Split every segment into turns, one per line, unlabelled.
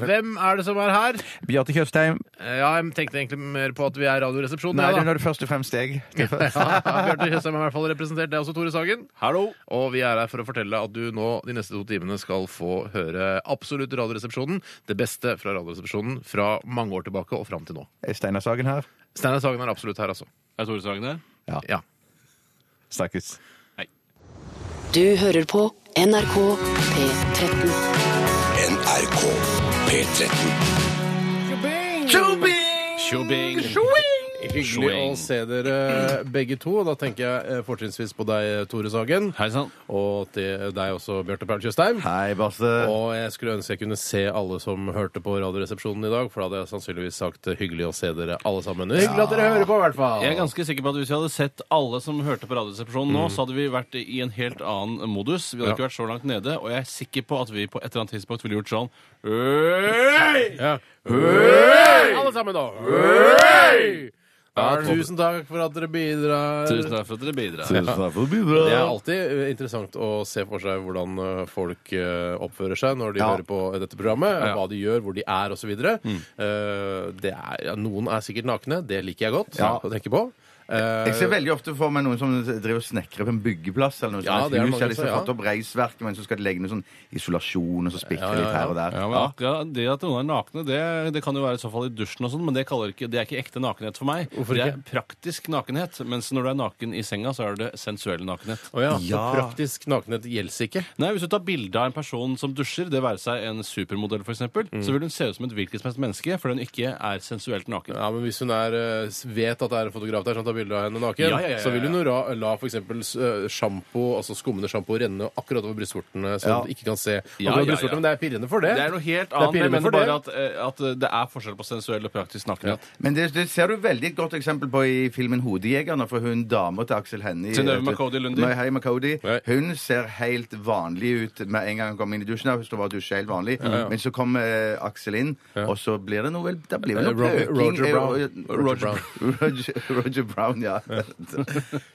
Hvem er det som er her? Eh,
Bjarte Tjøstheim.
Ja, jeg tenkte egentlig mer på at vi er Radioresepsjonen.
Nei,
ja,
det
da.
er når du først og fremst jeg.
Ja, Bjarte Tjøstheim er i hvert fall representert. Det er også Tore Sagen. Hallo. Og vi er her for å fortelle at du nå de neste to timene skal få høre absolutt Radioresepsjonen. Det beste fra Radioresepsjonen fra mange år tilbake og fram til nå.
Er Steinar Sagen her.
Steinar Sagen er absolutt her, altså.
Er Tore Sagen der?
Ja.
Snakkes.
Du hører på NRK P13.
NRK P13.
Tjobing!
Hyggelig å se dere begge to. Da tenker jeg eh, fortrinnsvis på deg, Tore Sagen.
Hei sann.
Og til deg også, Bjarte Paul Tjøstheim.
Hei, Basse.
Og jeg skulle ønske jeg kunne se alle som hørte på Radioresepsjonen i dag, for da hadde jeg sannsynligvis sagt eh, hyggelig å se dere alle sammen. Hyggelig at dere hører på, i hvert fall.
Jeg er ganske sikker på at Hvis vi hadde sett alle som hørte på Radioresepsjonen nå, så hadde vi vært i en helt annen modus. Vi
Mm. Ja.
hadde ikke vært så langt nede, og jeg er sikker på at vi på et eller annet tidspunkt ville gjort sånn Øy!
Ja. Hei! Alle sammen, da. Hei! Ja, tusen takk for at dere bidrar.
Tusen takk for at dere bidrar.
Tusen takk for
Det er
bidraget.
alltid eh, interessant å se for seg hvordan eh, folk eh, oppfører seg når de
Ja.
hører på dette programmet.
Ja.
Hva de gjør, hvor de er osv. Mm. det er, ja, noen er sikkert nakne. Det liker jeg godt
Ja.
å tenke på. Eh,
Jeg ser veldig ofte for meg noen som driver og snekrer på en byggeplass. eller noe
Ja,
sånt.
det er
Hus,
mange som-
eller som har liksom
ja.
fått opp reisverket, men så skal de legge noe sånn isolasjon, og så spikre litt her og der.
Ja, men akkurat Det at noen er nakne, det, det kan jo være i så fall i dusjen, og sånn, men det, kaller ikke, det er ikke ekte nakenhet for meg.
Hvorfor
det er
ikke?
praktisk nakenhet, mens når du er naken i senga, så er det sensuell nakenhet.
Å ja, så
Ja.
praktisk nakenhet gjelder ikke.
Nei, Hvis du tar bilde av en person som dusjer, det være seg en supermodell, for eksempel, så vil hun se ut som et hvilket som helst menneske fordi hun ikke er sensuelt naken.
Ja, men Hvis hun er, eh, vet at det er en fotograf der som tar bilde av henne naken,
Ja, ja, ja, ja, ja.
så vil hun jo ra- la f.eks. sjampo, altså skummende sjampo renne akkurat over brystvortene, så
Ja.
du ikke kan se akkurat
Ja, ja, ja.
brystvortene. Men det er pirrende for det.
Det er noe helt
er
annet, jeg
pirrende
mener
for det.
bare at, eh, at eh, det er forskjell på sensuell og praktisk nakenhet.
Men det, det ser du veldig et godt eksempel på i filmen 'Hodejegerne', for hun dama til Aksel Hennie
Synnøve Macody Lunde.
Nei, Hei, Macody.
Nei.
Hun ser helt vanlig ut med en gang hun kommer inn i dusjen. Hun står bare og dusjer helt vanlig. Men så kommer eh, Aksel inn, og så blir det noe vel Da blir det noe
Eh, Roger-
pøking.
Roger
Eh,
Brown.
Roger-
Roger Brown.
Roger, Roger Brown, ja.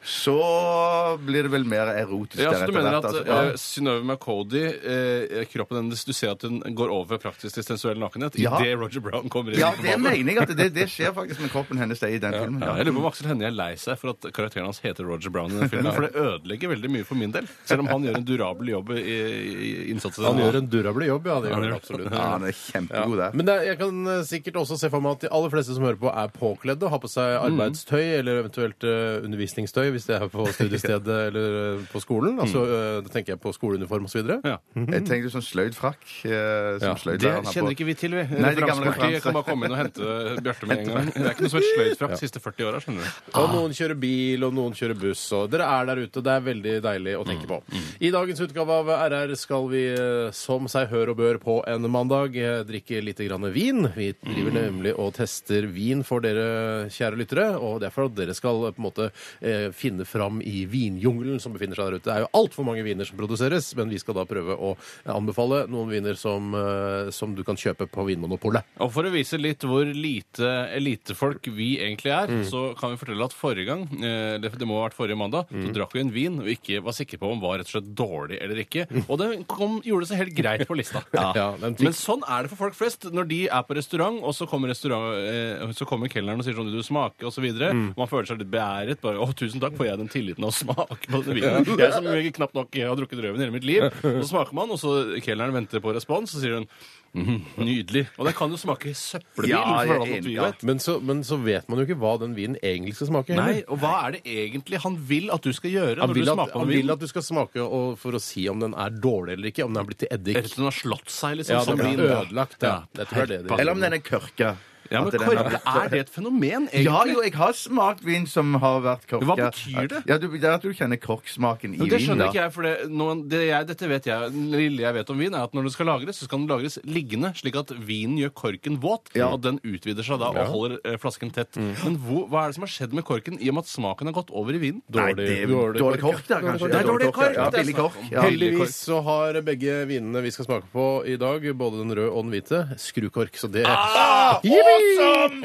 Så blir det vel mer erotisk
Ja, så du
deretter
mener
hvert,
at
altså.
eh, Synnøve Macody, eh, kroppen hennes, du ser at hun går over fra praktisk til sensuell nakenhet
Ja.
idet Roger Brown kommer inn?
Ja,
på
det
badet?
mener jeg at det, det skjer faktisk med kroppen hennes det, i den filmen.
Ja, jeg lurer på om Aksel Hennie er lei seg for at karakteren hans heter Roger Brown i den filmen, for det ødelegger veldig mye for min del. Selv om han gjør en durabel jobb i, i innsatsen.
Han gjør en durable jobb, ja. Det gjør
Han
han
gjør-
absolutt.
Ja, han er kjempegod der.
Men det, er- jeg kan eh, sikkert også se for meg at de aller fleste som hører på, er påkledde og har på seg
Mm.
arbeidstøy eller eventuelt eh, undervisningstøy hvis det er på studiestedet eller eh, på skolen. Altså, eh, Da tenker jeg på skoleuniform osv.
Mm. Ja.
Jeg tenkte sånn sløyd frakk. Eh, som
Ja,
sløyd
Mhm. Det kjenner ikke vi til, vi.
Nei, det er gamle
Referansepartiet
referanser.
kan bare komme inn og hente Bjarte med en gang. Det er ikke noe som er sløyt fra de siste 40 åra, skjønner du.
Og noen kjører bil, og noen kjører buss. Og dere er der ute. Det er veldig deilig å tenke på. I dagens utgave av RR skal vi, eh, som seg hør og bør på en mandag, eh, drikke litt grann vin. Vi driver nemlig og tester vin for dere, kjære lyttere. Og det er for at dere skal eh, på en måte eh, finne fram i vinjungelen som befinner seg der ute. Det er jo altfor mange viner som produseres, men vi skal da prøve å anbefale noen viner som, eh, som du kan kjøpe på Vinmonopolet.
Og for å vise litt hvor lite elitefolk vi egentlig er, så kan vi fortelle at forrige gang, eh, det det må ha vært forrige mandag, så drakk vi en vin og ikke var sikre på om den var rett og slett dårlig eller ikke. Og den kom, gjorde det seg helt greit på lista.
Ja, den fikk-
Men sånn er det for folk flest. Når de er på restaurant, og så kommer, restaurant, eh, så kommer kelneren og sier sånn, du smaker, og så videre.
Mm.
Man føler seg litt beæret. Bare, å, tusen takk, får jeg den tilliten å smake på denne vinen? Jeg som knapt nok har drukket røven i hele mitt liv. Så smaker man, og så kelneren venter på respons, og så sier hun, «Mhm, nydelig. Og den kan jo smake søppelbil.
Ja,
for
jeg
hva
er
som
enig,
vi
ja.
vet.
Men så, men så vet man jo ikke hva den vinen egentlig skal smake. heller.
Nei, og hva er det egentlig han vil at du skal gjøre
Han
når du
vil, at,
smaker på
han
den
vil
vinen?
at du skal smake og, for å si om den er dårlig eller ikke. Om den er blitt til eddik.
Rett og slett har slått seg, liksom.
Ja,
som
den blir
vin.
ødelagt. Ja. Jeg tror det er det de
Eller om den er kørka.
Ja,
At
men
den har
korke,
blitt-
er det et fenomen, egentlig?
Ja, jo, jeg har smakt vin som har vært korka.
Hva betyr det?
Ja, du, det er at du kjenner korksmaken i
Men Det
vinen.
skjønner
da.
ikke jeg, for det, noen, det jeg, dette vet jeg, det lille jeg vet om vin, er at når det skal lagres, så skal den lagres liggende, slik at vinen gjør korken våt, og den utvider seg da og holder eh, flasken tett.
Mm.
Men hvor, hva er det som har skjedd med korken i og med at smaken har gått over i vinen?
Nei, det er dårlig, kork, da, kanskje.
Det er
dårlig kork,
Ja,
det er
billig
snakk
kork.
om.
Ja.
Heldig.
Heldigvis så har begge vinene vi skal smake på i dag, både den røde og den hvite, skrukork. Så det ah,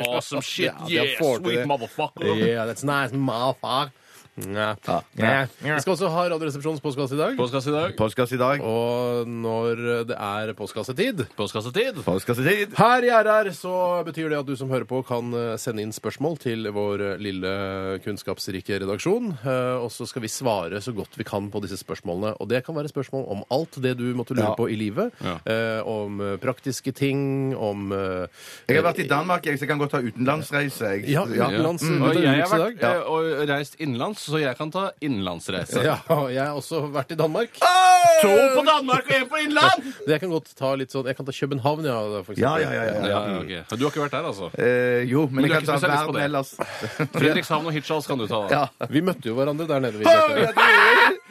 Awesome shit,
Ja, det
yeah,
får til
sweet
det.
motherfucker!
Yeah, that's nice, motherfucker. Nja. Nja. Vi skal også ha Radioresepsjonens postkasse i dag.
Ah, Postkasse i dag.
Postkasse i dag.
Og når det er postkassetid
Postkassetid.
Postkassetid.
her i RR så betyr det at du som hører på kan eh, sende inn spørsmål til vår eh, lille kunnskapsrike redaksjon. eh, Og så skal vi svare så godt vi kan på disse spørsmålene. Og det kan være spørsmål om alt det du måtte lure
Ja.
på i livet.
Ja.
eh, Om eh, praktiske ting, om eh,
Jeg har vært i Danmark, jeg, så jeg kan godt ta utenlandsreise. Jeg.
Ja, utenlands.
Mm.
du
Og
tar
jeg har
utenriks eh, i
vært
dag.
eh, og reist innenlands, så jeg kan ta innenlandsreise.
Ja, og jeg har også vært i Danmark.
Ah!
To på Danmark og én på innland!
Det kan godt ta litt sånn Jeg kan ta København, ja. For
Ja,
eksempel.
ja, ja, ja, ja.
Ja, ok. Du har ikke vært der, altså?
Eh, jo, men,
Men du
jeg
er
kan ta
ikke spesialist
verden
på det.
ellers.
Fredrikshavn og Hirtshals kan du ta. da.
Ja.
Vi møtte jo hverandre der nede. Vi,
Ja, det er det.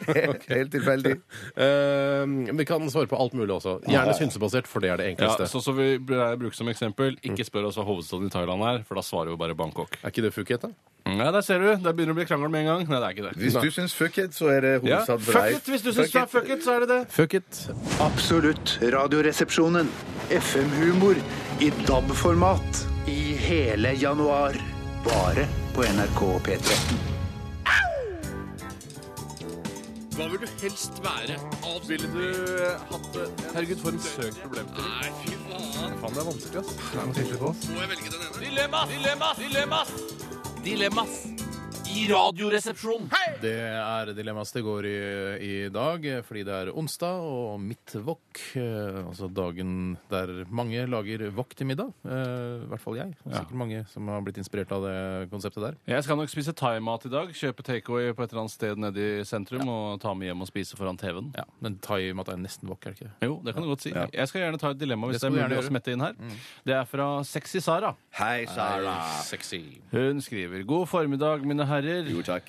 Helt tilfeldig.
Eh, men vi kan svare på alt mulig også. Gjerne synsebasert, for det er det
Ja,
enkleste.
så, så vi bør- bruker som eksempel Ikke spør oss hva hovedstaden i Thailand er, for da svarer vi bare Bangkok.
Er ikke det Phuket, da?
Nei, der ser du. Der begynner det å bli krangel med en gang. Nei, det er ikke det.
Hvis du syns fuck it, så er det
Ja.
hovedstaden for
Fuck
deg.
it! Hvis du syns det er fuck it, så er det det.
Fuck it.
Absolutt radioresepsjonen. FM-humor i DAB-format i hele januar. Bare på NRK P13.
Hva vil du helst være? Ville du hatt det? Herregud, for en søk problem til. Nei, fy faen. Faen, det er vanskelig, ass. Må jeg velge den ene? Dilemmas! Dilemmas! Dilemmas! Dilemmas! I radioresepsjonen.
Det er dilemmas det går i, i dag, fordi det er onsdag og mitt wok. eh, Altså dagen der mange lager wok til middag. eh, I hvert fall jeg. Og sikkert mange som har blitt inspirert av det konseptet der.
Jeg skal nok spise thaimat i dag. Kjøpe takeaway på et eller annet sted nede i sentrum og ta med hjem og spise foran TV-en.
Ja, Men thai-mat er nesten wok, er det ikke det?
Jo, det kan du godt si. Jeg skal gjerne ta et dilemma hvis
Det
det,
skal du
er mulig
gjerne
å
gjøre. Mm.
smette inn her. Det er fra Sexy Sara.
Hei, Sara.
Sexy.
Hun skriver God formiddag, mine herrer.
Jo, takk.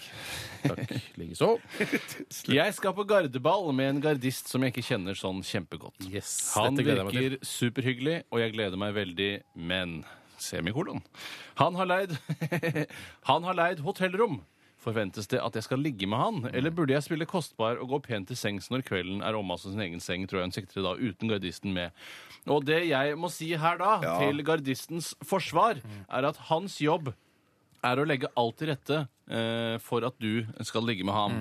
Takk likeså.
Jeg skal på gardeball med en gardist som jeg ikke kjenner sånn kjempegodt.
Yes,
Han
dette gleder jeg meg til.
virker superhyggelig, og jeg gleder meg veldig, men Semikolon. Han har leid Han har leid hotellrom. Forventes det at jeg skal ligge med han, eller burde jeg spille kostbar og gå pent til sengs når kvelden er omme, altså sin egen seng, tror jeg hun sikter til da, uten gardisten med? Og det jeg må si her da, til gardistens forsvar, er at hans jobb er å legge alt til rette eh, for at du skal ligge med ham.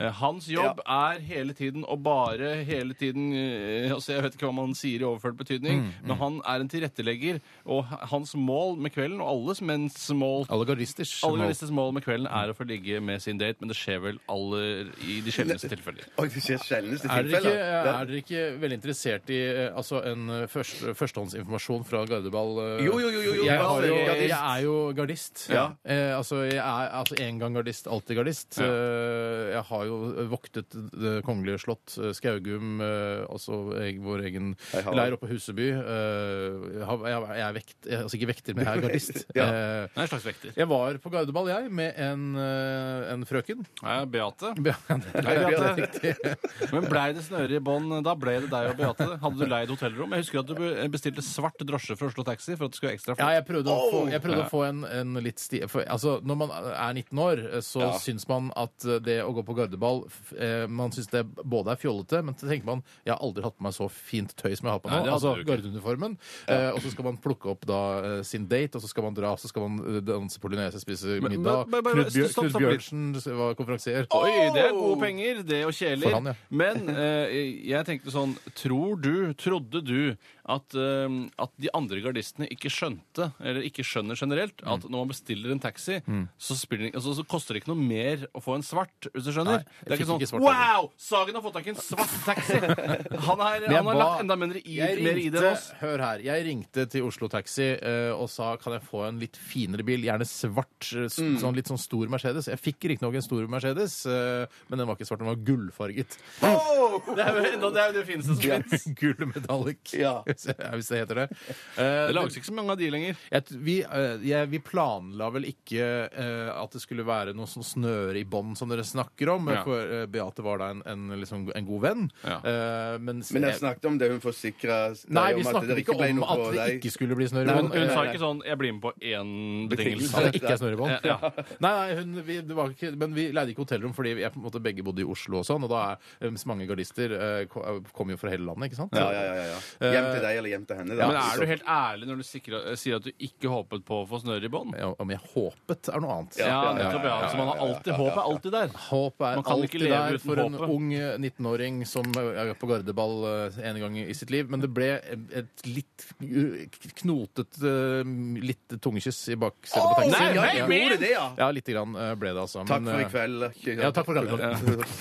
Eh, hans jobb er hele tiden å bare hele tiden eh, altså Jeg vet ikke hva man sier i overført betydning, men han er en tilrettelegger, og h- hans mål med kvelden, og alles menns mål
Alle gardisters.
alle journalisters mål med kvelden er å få ligge med sin date, men det skjer vel aller i de sjeldneste tilfeller.
Oi, det skjer sjeldneste
Er dere, ikke,
tilfeller.
er dere ikke veldig interessert i eh, altså en eh, først, førstehåndsinformasjon fra gardeball? eh?
Jo, jo, jo, jo, jo.
Jeg, har jo
Gardist.
jeg er jo gardist.
Ja.
Eh, altså, jeg er altså, en gang gardist, alltid gardist. Eh, jeg har jo voktet det kongelige slott, eh, Skaugum, eh, altså eh, vår egen
Hei, Harald.
leir oppe på Huseby. Eh, jeg, har- jeg, jeg er vekt, jeg, altså ikke vekter, men jeg er gardist.
Ja.
Eh,
Det er en slags vekter.
jeg var på gardeball, jeg, med en, eh, en frøken.
Ja, Beate.
Nei,
Beate.
riktig.
Men blei det snøre i bånd? Da ble det deg og Beate. det. Hadde du leid hotellrom? Jeg husker at du be- bestilte svart drosje fra Oslo Taxi for at det skulle være ekstra
Ja,
flott.
jeg prøvde å få, jeg prøvde å få en, en litt sti... For, altså, når man er 19 år, så syns man at det å gå på gardeball f- eh, Man syns det både er fjollete, men så tenker man jeg har aldri hatt på meg så fint tøy som jeg har på nå.
Nei, det hadde
altså
du ikke.
gardeuniformen. Eh, og så skal man plukke opp da eh, sin date, og så skal man dra, så skal man eh, danse polynese, spise
Men-
middag.
men- men- men-
Knut, Bjør,
stopp,
Knut
stopp litt.
Bjørnsen var konferansier.
Oi, det er gode penger, det og kjeler.
For han, ja.
Men eh, jeg tenkte sånn Tror du, trodde du, at, eh, at de
Mm.
andre gardistene ikke skjønte, eller ikke skjønner generelt, at når man bestiller en taxi, så spiller det ikke altså, så koster det ikke noe mer å få en svart, hvis du skjønner.
Nei, jeg
det er
fikk
ikke sånn
ikke svart heller.
Wow! Sagen har fått tak i en svart taxi! Han, er,
Men jeg
han har
ba-
lagt enda mindre i,
Jeg
mer i
ringte,
det enn oss.
hør her, jeg ringte til Oslo Taxi eh, og sa kan jeg få en litt finere bil, gjerne svart, eh, s-
Mm.
sånn litt sånn stor Mercedes. Jeg fikk riktignok en stor Mercedes, eh, men den var ikke svart, den var gullfarget.
Det er jo det, er jo det fineste som finnes.
Gull metallic,
Ja.
hvis hvis det heter det.
Det
Eh,
lages ikke så mange av de lenger.
jeg, t- vi, eh, jeg, vi planla vel ikke eh, at det skulle være noe sånn snøre i bånd som dere snakker om,
Ja.
for eh, Beate var da en, en, liksom, en god venn.
Ja.
Eh, men
Men jeg snakket om det hun forsikra
Nei, vi snakket ikke om at det ikke skulle bli snøre i
Nei,
bånd.
Hun, hun sa
Eh,
ikke sånn 'jeg blir med på én betingelse'.
At det ikke er snørrebånd?
Ja.
Nei, nei hun, vi, det var ikke, men vi leide ikke hotellrom fordi vi er på en måte begge bodde i Oslo og sånn, og da er mens mange gardister eh, ko- kommer jo fra hele landet, ikke sant?
Ja, ja, ja, ja. Hjem til deg eller hjem til henne. Da.
Men er du helt ærlig når du sikrer, sier at du ikke håpet på å få snøre i bånd?
Ja, Om jeg håpet er noe annet.
Ja,
ja, ja,
nettopp.
ja,
Ja,
ja,
Så man har
ja, ja,
alltid
ja,
håp
ja,
er alltid der.
Håp er
Man kan ikke
alltid
leve
der
uten
for en
håpet.
ung eh, 19-åring som eh, er på gardeball eh, en gang i sitt liv. Men det ble et litt eh, knotet, eh, litt tungekyss i baksetet på taxien.
Nei, nei,
ja,
men-
Gjorde det, ja.
ja, lite grann eh, ble det, altså.
Takk
Men,
for
eh,
i kveld.
Ja, takk for kvelden.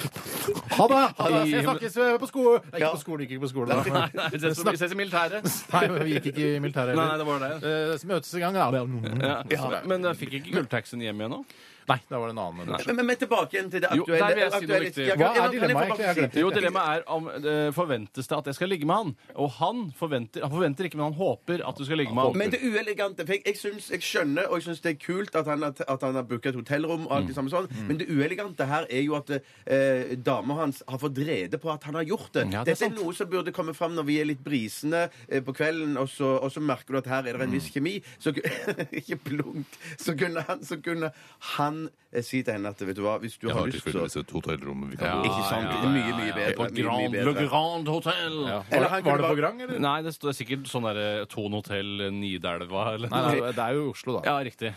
Ha det! Ha det. Jeg snakkes eh, på skole. Nei, ikke
Ja.
på skole, ikke på skole. Da.
Nei, vi ses på- vi ses i
eh.
militæret.
Nei, men vi gikk ikke i militæret
Nei, nei, det var det.
Eh, så møtes i gang, da.
Ja, Men jeg fikk ikke gulltaxien hjem igjen nå?
Nei, da var det en annen.
Men, men, men tilbake igjen til det
Jo,
aktuelle.
der vil jeg si noe
aktuelle-
viktig.
Ja,
Hva er
ja, men kan jeg
dilemmaet egentlig? Jeg har
få bare
glemt
si-
det.
Jo, dilemmaet er om det forventes det at jeg skal ligge med han. Og han forventer, han forventer ikke, men han håper at du skal ligge med han.
Men det uelegante for jeg, jeg, syns, jeg skjønner og jeg syns det er kult at han har, at han har booka et hotellrom, og alt
Mm.
det samme sånn, men det uelegante her er jo at eh, dama hans har fått rede på at han har gjort det.
Ja, det er
Dette er
sant.
noe som burde komme fram når vi er litt brisende eh, på kvelden, og så, og så merker du at her er det en
Mm.
viss kjemi. Så, ku- ikke blunk. Så kunne han, så kunne han eh, si til henne at vet du hva, hvis du har lyst, så
et hotellrom vi
Ja,
Ikke sant?
ja,
Det er mye, mye bedre.
På
Mye, mye
Grand,
bedre.
Le Grand Hotel.
Eller han kunne bare-
Grang, eller?
Nei, det står sikkert sånn derre Thon hotell Nidelva eller
Nei,
noe.
nei, det er jo Oslo, da.
Ja, riktig.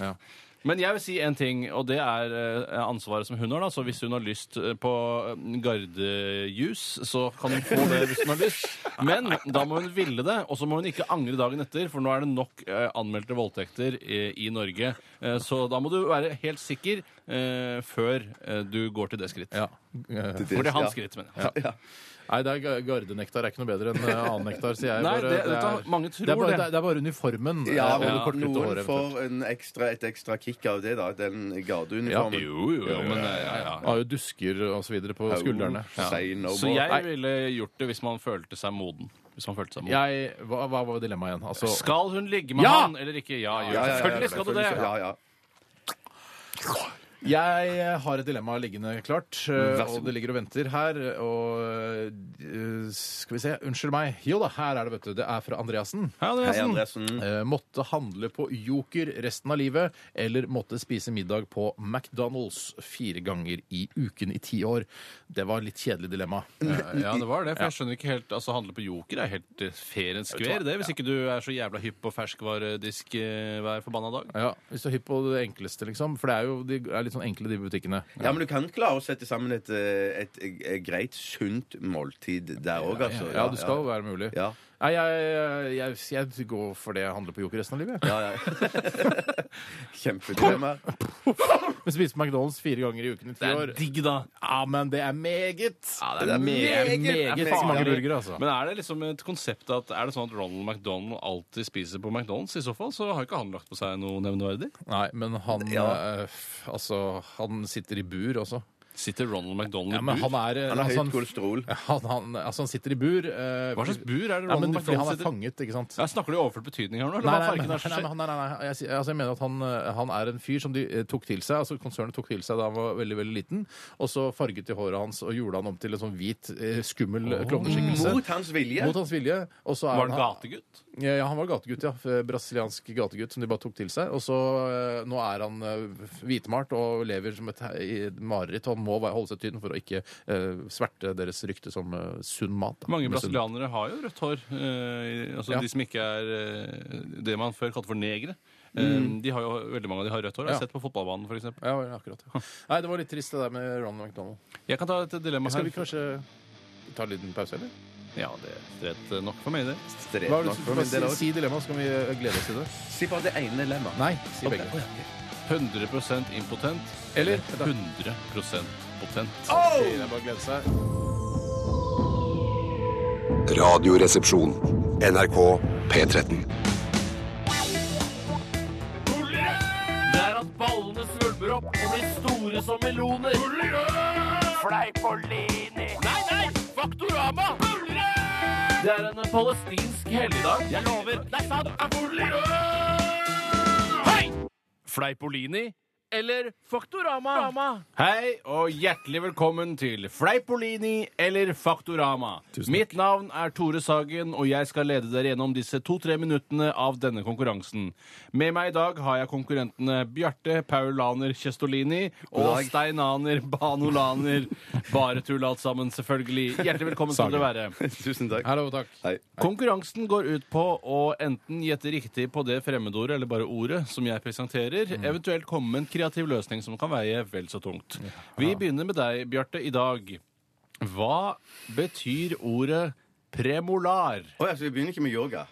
Men jeg vil si en ting, og det er eh, ansvaret som hun har. da, Så hvis hun har lyst eh, på eh, gardejus, så kan hun få det hvis hun har lyst. Men da må hun ville det, og så må hun ikke angre dagen etter, for nå er det nok eh, anmeldte voldtekter i, i Norge. Eh, Så da må du være helt sikker eh, før eh, du går til det skritt.
Ja. Eh,
For det er hans skritt, mener jeg.
Nei, det er ga- gardenektar er ikke noe bedre enn eh, annen nektar, sier jeg.
Nei,
bare.
det- vet du hva, mange tror
det. Er bare,
det.
det, er, det er bare uniformen eh,
Ja,
og det
men
kortklippte
noen
håret. eventuelt.
får en ekstra, et ekstra kick av det, da. Den
Ja.
gardeuniformen.
Jo, jo, jo, men eh, ja, ja.
Har jo dusker og så videre på skuldrene.
Ja. Say no
Så
more.
jeg ville gjort det hvis man følte seg moden. Hvis man følte seg moden.
Jeg, hva, hva var dilemmaet igjen? Altså,
Skal hun ligge med
Ja!
han eller ikke? Ja, gjør det.
Ja, ja, ja, ja,
selvfølgelig skal du det!
selvfølgelig skal- Ja, ja.
Jeg eh, har et dilemma liggende klart, eh, og det ligger og venter her. Og eh, skal vi se Unnskyld meg. Jo da, her er det, vet du. Det er fra Andreassen.
Hei,
Hei,
Andreassen.
Andresen.
Eh, måtte handle på Joker resten av livet, eller måtte spise middag på McDonald's fire ganger i uken i ti år. Det var et litt kjedelig dilemma. Eh,
Ja, det var det. For jeg skjønner ikke helt Altså, handle på Joker er helt eh, fair and square, det. Hvis ikke du er så jævla hypp på ferskvaredisk eh, hver forbanna dag.
Ja, Hvis du er hypp på det enkleste, liksom. For det er jo de er litt sånn enkle, de butikkene.
Ja, men du kan klare å sette sammen et, eh, et, eh, greit, sunt måltid der òg, altså.
Ja, det skal jo være mulig.
Ja.
Nei, jeg, jeg, jeg går for det jeg handler på Joker resten av livet.
Ja, ja. Kjempedilemma.
Men spiste McDonald's fire ganger i uken i ti år.
digg, da.
Ja, men det er meget!
Ja, det er meget,
meget-
meget,
meget
farlig.
mange burgere, altså.
Men er det liksom et konsept at er det sånn at Ronald McDonald alltid spiser på McDonald's? I så fall så har ikke han lagt på seg noe nevneverdig.
Nei, men han
Ja.
eh, f- Altså, han sitter i bur også.
Sitter Ronald McDonald i
Ja, men han
bur?
er
Han har
altså,
høyt kolesterol.
han, han, altså, han sitter i bur. eh,
Hva slags bur er det
Ja,
Ronald
men fordi han
McDonald
er
sitter i?
fanget, ikke sant?
Ja, snakker du i overført betydning her nå? Eller
Nei, nei,
hva
nei,
farken
nei,
er som
nei,
skjer?
men han- nei, nei, nei. Jeg, sier- altså, jeg mener at han, eh, han er en fyr som de eh, tok til seg, altså konsernet tok til seg da han var veldig veldig liten, og så farget de håret hans og gjorde han om til en sånn hvit, eh, skummel eh, klovneskikkelse.
Mot hans vilje.
Mot hans vilje. Og så er
Var han
han,
gategutt?
Ja, ja, han var gategutt, ja. F- Brasiliansk gategutt som de bare tok til seg. Og så eh, Nå er han eh, hvitmalt og lever som et he- i et mareritt. Han må være- holde seg tynn for å ikke eh, sverte deres rykte som eh, sunn mat. da.
Mange
Med sunn-
brasilianere har jo rødt hår. eh, i- altså
Ja.
De som ikke er eh, det man før kalte for negre. Eh, de har jo, veldig mange av de har rødt hår. Jeg
Mm. Ja.
har sett på fotballbanen for eksempel.
Ja, ja, akkurat. Ja. Nei, det var litt trist det der med Ronald McDonald.
Jeg kan ta et dilemma
Skal
her.
vi kanskje ta en liten pause, eller?
Ja, det er rett nok for meg, det.
Strep
Hva er
nok
det,
for min
bare
del
si,
også.
si dilemmaet, så kan vi eh, glede oss til det.
Si bare det ene dilemmaet.
Nei, si begge.
Å, ja, ok.
100 impotent eller 100 potent.
Det er bare å glede seg.
Radioresepsjon. NRK P13.
Det er at ballene svulmer opp og blir store som meloner. Fleipolini. Nei, nei! Faktorama! Det er en palestinsk helligdag. Jeg lover. Det er sant. Hei! Fleipolini eller Faktorama?
Hei og hjertelig velkommen til Fleipolini eller Faktorama. Mitt navn er Tore Sagen, og jeg skal lede dere gjennom disse to-tre minuttene av denne konkurransen. Med meg i dag har jeg konkurrentene Bjarte Paulaner Kjestolini og Steinaner Banolaner. Bare tull alt sammen, selvfølgelig. Hjertelig velkommen skal dere være.
Tusen takk.
Hallo, takk.
Konkurransen går ut på å enten gjette riktig på det fremmedordet, eller bare ordet, som jeg presenterer, eventuelt komme med en kreativ løsning som kan veie vel så tungt. Vi begynner med deg, Bjarte, i dag. Hva betyr ordet premolar?
Å ja, så vi begynner ikke med yoga.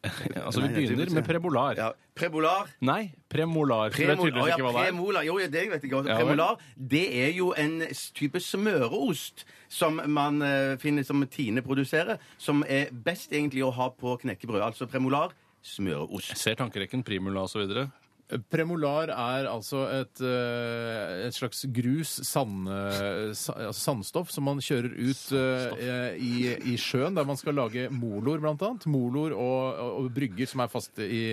Altså, vi
Nei, jeg tror
begynner
ikke.
med premolar.
Ja. Prebolar.
Nei, premolar. Du vet
Premol,
tydeligvis
ja,
ikke hva det er.
premolar. Jo, ja, det vet jeg godt.
Ja, vel.
Premolar det er jo en s- type smøreost som man eh, finner som Tine produserer, som er best egentlig å ha på knekkebrød. Altså premolar smøreost.
Ser tankerekken, primula osv.
Premolar er altså et, eh, et slags grus, sand, eh, sa- altså sandstoff, som man kjører ut eh, i, i sjøen, der man skal lage molor, blant annet. Molor og, og, og brygger som er fast i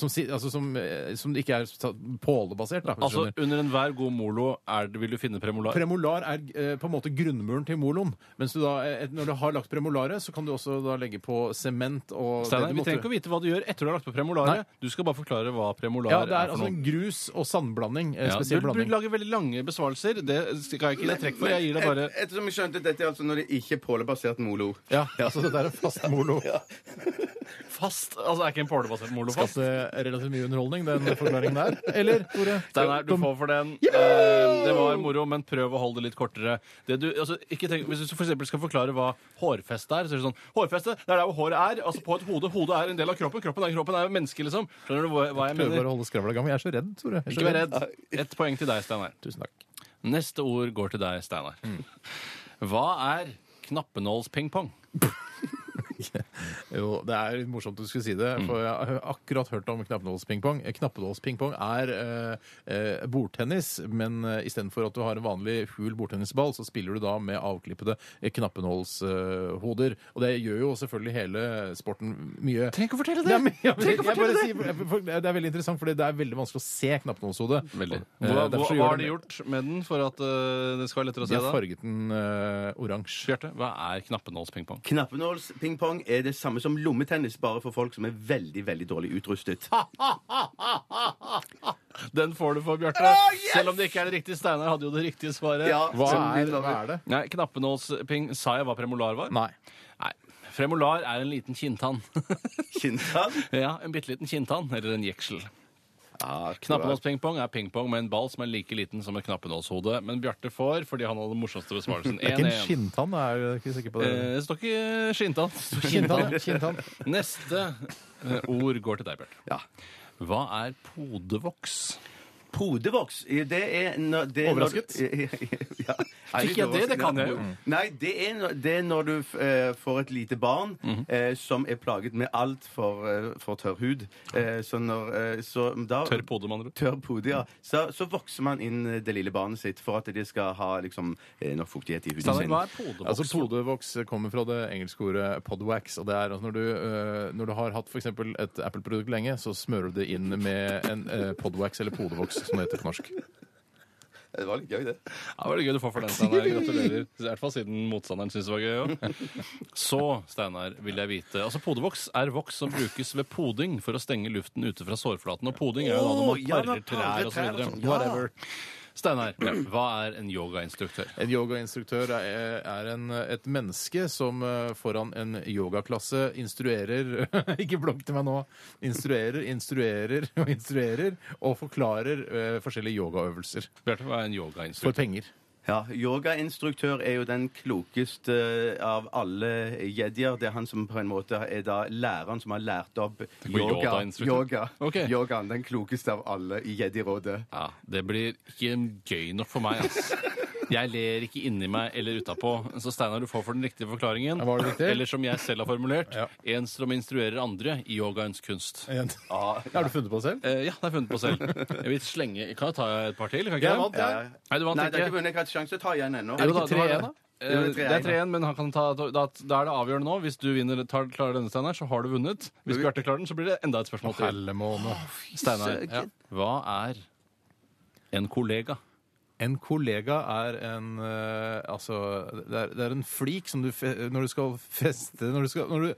Som, si- altså som, eh, som ikke er sa- pålebasert, da. hvis du
Altså,
skjønner.
under enhver god molo er det, vil du finne premolar.
Premolar er eh, på en måte grunnmuren til moloen. Mens du da, eh, når du har lagt premolaret, så kan du også da legge på sement og
Steinar, vi trenger ikke å vite hva du gjør etter du har lagt på premolaret. Du skal bare forklare hva premolar
Ja, det er
er for
altså
noe.
en grus- og sandblanding. eh,
Ja,
Spesiell
du, du
blanding.
lager veldig lange besvarelser. Det skal jeg ikke gi deg trekk for. Jeg gir deg bare
Et, ettersom jeg skjønte at dette er altså når det ikke er pålebasert molo.
Ja, altså dette er en fast molo.
fast. Altså, det er ikke en pålebasert molofast.
Skapte relativt mye underholdning, den forklaringen der. Eller, Tore?
Steinar, du får for den. Eh, Det var moro, men prøv å holde det litt kortere. Det du, altså, ikke tenk, hvis du for eksempel skal forklare hva hårfeste er, så er det sånn Hårfeste, det er der hvor håret er. Altså på et hode. Hodet er en del av kroppen. Kroppen er kroppen er jo menneske, liksom. Skjønner du hva, hva jeg
Prøver bare
mener?
å holde skravla i gang. men Jeg er så redd, Tore. Jeg er så
Ikke vær redd. Ett poeng til deg, Steinar.
Tusen takk.
Neste ord går til deg, Steinar. Hva er knappenålspingpong?
Jo, det er litt morsomt du skulle si det,
Mm.
for jeg har akkurat hørt om knappenålspingpong. Eh, Knappenålspingpong er eh, eh, bordtennis, men eh, istedenfor at du har en vanlig hul bordtennisball, så spiller du da med avklippede eh, knappenålshoder. Og det gjør jo selvfølgelig hele sporten mye
Trenger ikke å fortelle det!
Nei, men jeg-
Trenger ikke
jeg
å fortelle
bare
det!
sier- jeg- for- Det er veldig interessant, fordi det er veldig vanskelig å se knappenålshodet.
Veldig.
Eh,
Hva,
derfor
hva,
så
hva
gjør
har de gjort med den for at eh, det skal være lettere
De
å se
har
det?
farget den eh, oransje.
Bjarte, hva er knappenålspingpong?
Knappenålspingpong er det samme som lommetennis, bare for folk som er veldig, veldig dårlig utrustet.
Den får du for, Bjarte. Selv om det ikke er det riktige. Steinar hadde jo det riktige svaret.
Ja.
Hva
Som
er,
de
hva er
lager.
det?
Nei, knappenålsping Sa jeg hva premolar var?
Nei.
Nei. Premolar er en liten kinntann.
Kinntann.
ja, en bitte liten kinntann. Eller en jeksel.
Ja,
Knappenålspingpong er pingpong med en ball som er like liten som et knappenålshode. Men Bjarte får fordi han hadde den morsomste besvarelsen.
Det er ikke en
1-1.
skinntann, er jeg ikke sikker på det.
Eh, Det står ikke skinntann. Det står
Kinntann, ja, kinntann.
Neste eh, ord går til deg, Bjarte.
Ja.
Hva er podevoks?
Podevoks, det er når det er
Overrasket?
Når, ja.
Fikk jeg det? Det kan jeg jo.
Nei, det er, når- det er når du eh, får et lite barn
Mhm.
eh, som er plaget med altfor eh, for tørr hud. Eh, så når eh, så da,
Tørr pode, med andre ord.
Tørr pode, ja. Så, så vokser man inn eh, det lille barnet sitt for at de skal ha liksom, eh, nok fuktighet i huden
Steinar,
sin.
hva er podevoks?
Altså, Podevoks kommer fra det engelske ordet podwax. og det er altså når du, øh, når du har hatt for eksempel et Apple-produkt lenge, så smører du det inn med en øh, podwax eller podevoks, som det heter på norsk.
Det var litt gøy, det.
Ja, det var det gøy du får for den, Steinar. Gratulerer. I hvert fall siden motstanderen syntes det var gøy òg. Så, Steinar, vil jeg vite Altså, podevoks er voks som brukes ved poding for å stenge luften ute fra sårflaten. Og poding er jo da når
Å,
man
ja,
parer
man parer
trær
trær og
osv.
sånn. Ja.
Whatever. Steinar, hva er en yogainstruktør?
En yogainstruktør er, eh, er en, et menneske som øh, foran en yogaklasse instruerer Ikke blogg til meg nå! Instruerer, instruerer og instruerer og forklarer øh, forskjellige yogaøvelser
Bjarte, hva er en
for
yogainstruktør?
penger.
Ja, Yogainstruktør er jo den klokeste eh, av alle jedier. Det er han som på en måte er da læreren som har lært opp
på
yoga.
yogainstruktør.
yoga.
Ok.
Yogaen, den klokeste av alle i jedirådet.
Ja, det blir ikke gøy nok for meg, ass. Jeg ler ikke inni meg eller utapå. Så Steinar, du får for den riktige forklaringen.
Var det riktig?
Eller som jeg selv har formulert,
Ja.
en som instruerer andre i yogaens kunst. Eh,
Igjen. Har du funnet på det selv?
ja, det har jeg funnet på selv. Jeg vil slenge Kan jeg ta et par til?
Jeg
Kan det?
vant, jeg.
Nei, du vant
Nei, det er
ikke.
ikke vunnet. Jeg har ikke sjanse til å ta igjen ennå.
Jo da, det var
3-1
det.
da?
Eh,
Jo, det er
Det
3-1,
er 3-1, men han kan ta, da, da er det avgjørende nå. Hvis du vinner, tar, klarer denne, Steinar, så har du vunnet. Hvis Bjarte klarer den, så blir det enda et spørsmål til.
Hellemåne.
Steinar, ja. hva er en kollega?
En kollega er en eh, Altså, det er, det er en flik som du fe Når du skal feste Når du, skal, når du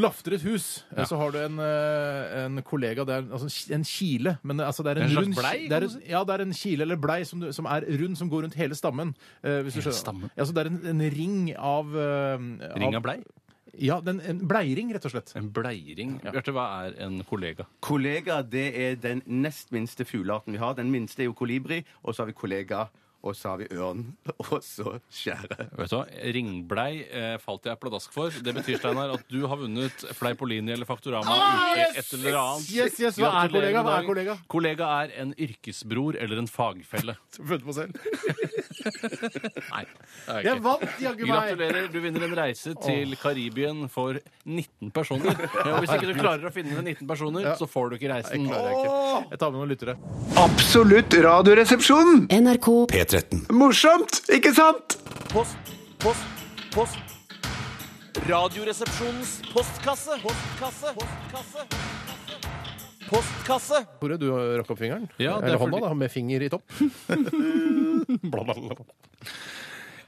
lafter et hus, eh, så har du en, eh, en kollega Det er en- altså, en ki- en kile. Men det- altså, det er en,
En slags
rund
blei,
ki-
kan
Det er,
du
en- ja, det er en kile eller blei som, du, som er rund, som går rundt hele stammen. eh, hvis du
Hele
skjønner.
stammen?
Ja, så det er en, en ring av eh,
Ring av blei?
Ja, den, en bleiring, rett og slett.
En bleiring? Bjarte, hva er en kollega?
Kollega, det er den nest minste fuglearten vi har. Den minste er jo kolibri, og så har vi kollega, og så har vi ørn, og så skjære.
Vet du hva? Ringblei eh, falt jeg pladask for. Det betyr Steinar, at du har vunnet Fleipolini eller Faktorama uke et eller annet.
yes, yes. Hva er kollega?
Gratulerer med
Hva er
dagen.
kollega?
Kollega er en yrkesbror eller en fagfelle.
Følte på selv.
Nei. det er
Jeg
ikke.
vant, jaggu meg!
Gratulerer, du vinner en reise til Karibien for 19 personer. Og hvis ikke du klarer å finne 19 personer, så får du ikke reisen.
Åh! Jeg tar med noen lyttere.
Absolutt Radioresepsjonen!
NRK
P13.
Morsomt, ikke sant?
Post, post, post. Radioresepsjonens postkasse. Postkasse. Postkasse. Postkasse.
Tore, du rakk opp fingeren.
Ja, det er
Eller hånda,
fordi-
da, med finger i topp. Bla, bla, bla.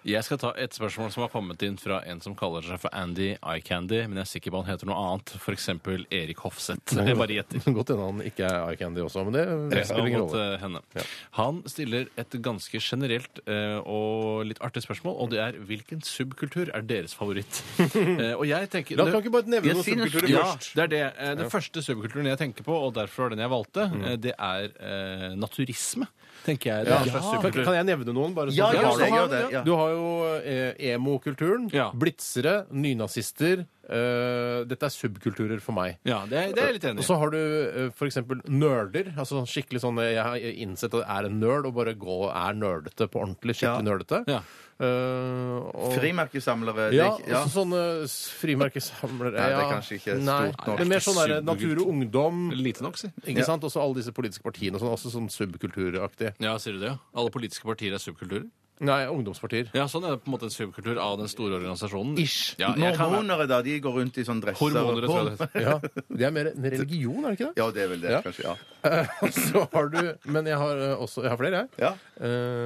Jeg skal ta et spørsmål som har kommet inn fra en som kaller seg for Andy Eye Candy, men jeg er sikker på han heter noe annet, f.eks. Erik Hofseth. Jeg bare gjetter.
Godt hende han ikke er eye candy også, men det, det spiller ingen
Respekt mot
rolle.
eh, henne. Han stiller et ganske generelt eh, og litt artig spørsmål, og det er hvilken subkultur er deres favoritt? Eh, og jeg tenker
La oss ikke bare nevne noen subkulturer
ja,
først.
det er det. Eh, Den første subkulturen jeg tenker på, og derfor var den jeg valgte,
Mm.
eh, det er eh, naturisme, tenker jeg. Det er en slags
Kan-
subkultur.
Kan jeg nevne noen? bare
Ja,
sånn-
ja,
har du-
ja, gjør det, ja.
Du har jo eh, emo-kulturen,
Ja.
blitzere, nynazister. eh, dette er subkulturer for meg.
Ja, det er, det er jeg litt enig
Og
i.
så har du eh, for eksempel nerder. altså sånn skikkelig sånn, eh, Jeg har innsett at jeg er en nerd, og bare gå, er nerdete på ordentlig. skikkelig nerdete.
Ja.
Eh, og-
Frimerkesamlere. det er
Ja,
altså
ikke- ja.
også sånne s- frimerkesamlere.
Nei, det er
ja.
kanskje ikke
Nei,
stort nok.
Det er mer sånn der, natur og ungdom.
Lite nok, si.
Ikke sant? Også alle disse politiske partiene. og Sånn, også sånn subkulturaktig.
Ja, sier du det? ja? Alle politiske partier er subkulturer?
Nei, ungdomspartier.
Ja, sånn er det på en måte en subkultur av den store organisasjonen.
Ish.
Ja, jeg kan,
Mormonere, da. De går rundt i sånn dresser.
hormoner, tror jeg det heter.
Ja, Det er mer en religion, er det ikke det?
Ja, det er vel det,
Ja.
kanskje. ja.
Så har du, men jeg har eh, også Jeg har flere, jeg.
Ja.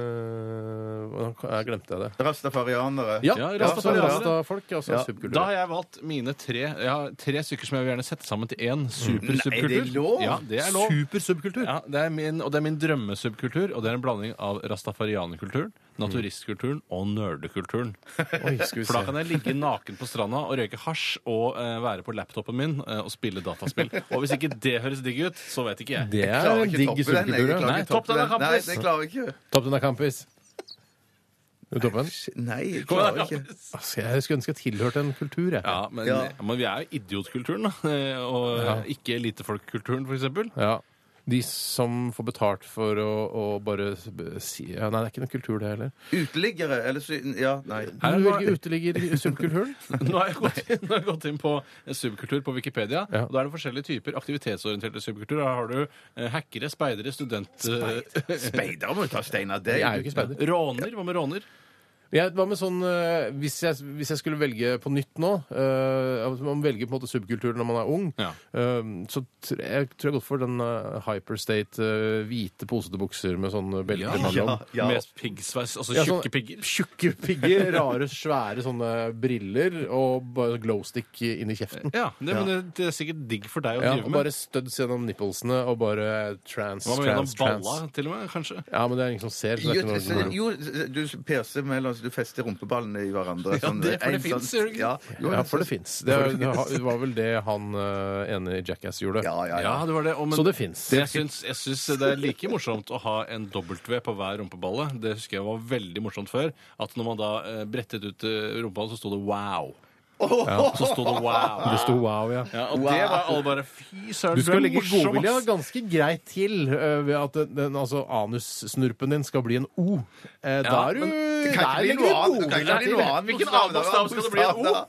Eh, hvordan kan- jeg glemte jeg det.
Rastafarianere.
Ja, sånn
Ja,
Rastafari-
rastafarianere.
Rastafolk er også en subkultur.
Da har jeg valgt mine tre Jeg har tre stykker som jeg vil gjerne sette sammen til én supersubkultur.
Nei, det er lov.
Ja, det er lov.
Supersubkultur.
Ja, det er min, og det er min drømmesubkultur, og det er en blanding av rastafarianerkulturen, naturistkulturen og nerdekulturen.
Oi, skal vi
For da
se.
kan jeg ligge naken på stranda og røyke hasj og eh, være på laptopen min eh, og spille dataspill. Og hvis ikke det høres digg ut, så vet ikke jeg.
Det
Jeg
er
klarer
en
ikke
digg
toppe den, jeg. Jeg klarer
subkultur. ja.
Nei,
ikke
topp
toppe
den, da,
Nei,
Kampus.
det klarer jeg ikke.
Topp den da, Kampis. Du toppen?
Nei, jeg klarer ikke.
Altså, jeg skulle ønske jeg tilhørte en kultur, jeg.
Ja, men,
Ja.
men vi er jo idiotkulturen, da. eh, Og eh, ikke elitefolkkulturen, for eksempel.
Ja. De som får betalt for å, å bare si ja, Nei, det er ikke noen kultur, det heller.
Uteliggere, eller så Ja, nei.
Du velger uteligger i subkulturen.
Nå har jeg gått, nå har jeg gått inn på subkultur på Wikipedia.
Ja.
og Da er det forskjellige typer aktivitetsorienterte subkulturer. Her har du eh, hackere, speidere, student...
Speidere må jo ta Steinar. Det
Jeg er jo ikke speider.
Råner. Hva med råner?
Jeg, hva med sånn, eh, hvis, jeg, hvis jeg skulle velge på nytt nå eh, at Man velger på en måte subkulturen når man er ung.
Ja.
eh, så tr jeg tror jeg gått for den eh, hyperstate eh, hvite, posete bukser med sånn belte mellom.
Ja.
Med piggsveis, altså
Ja, sånn-
tjukke pigger.
Tjukke pigger, rare, svære sånne briller og bare glowstick inn i kjeften.
Ja, det, men det, det er sikkert digg for deg å
Ja,
drive
og
med.
bare studs gjennom nipplesene og bare trans,
Hva med gjennom
trans, trans.
balla, til og med? kanskje?
Ja, men det er ingen som ser. Så det er ikke noe
Jo, du perser mellom
altså, du fester rumpeballene i hverandre. sånn,
det- for
en
det
sånn-
finnes, gjør det ikke?
Ja, jo,
Ja, for det fins. Det, er- det var vel det han eh, ene i Jackass gjorde.
Ja, ja, ja.
Ja, det var det. Og, men,
Så det fins.
Jeg syns, jeg syns det er like morsomt å ha en W på hver rumpeballe. Det husker jeg var veldig morsomt før. At når man da eh, brettet ut eh, rumpeballen, så sto det wow. Så sto det wow.
Det sto wow, ja.
Ja, og det var alle bare fy søren.
Du skal
er
legge
morsom,
godvilja
ass.
ganske greit til eh, ved at den, den, altså, anussnurpen din skal bli en O. Eh, da er du
Det kan
der
ikke bli
legger
noe
du
annet. Det kan
godvilja
ikke bli
til.
noe annet.
Hvilken annen
bokstav, da?
bokstav skal det bli? En O?
Bokstav, da?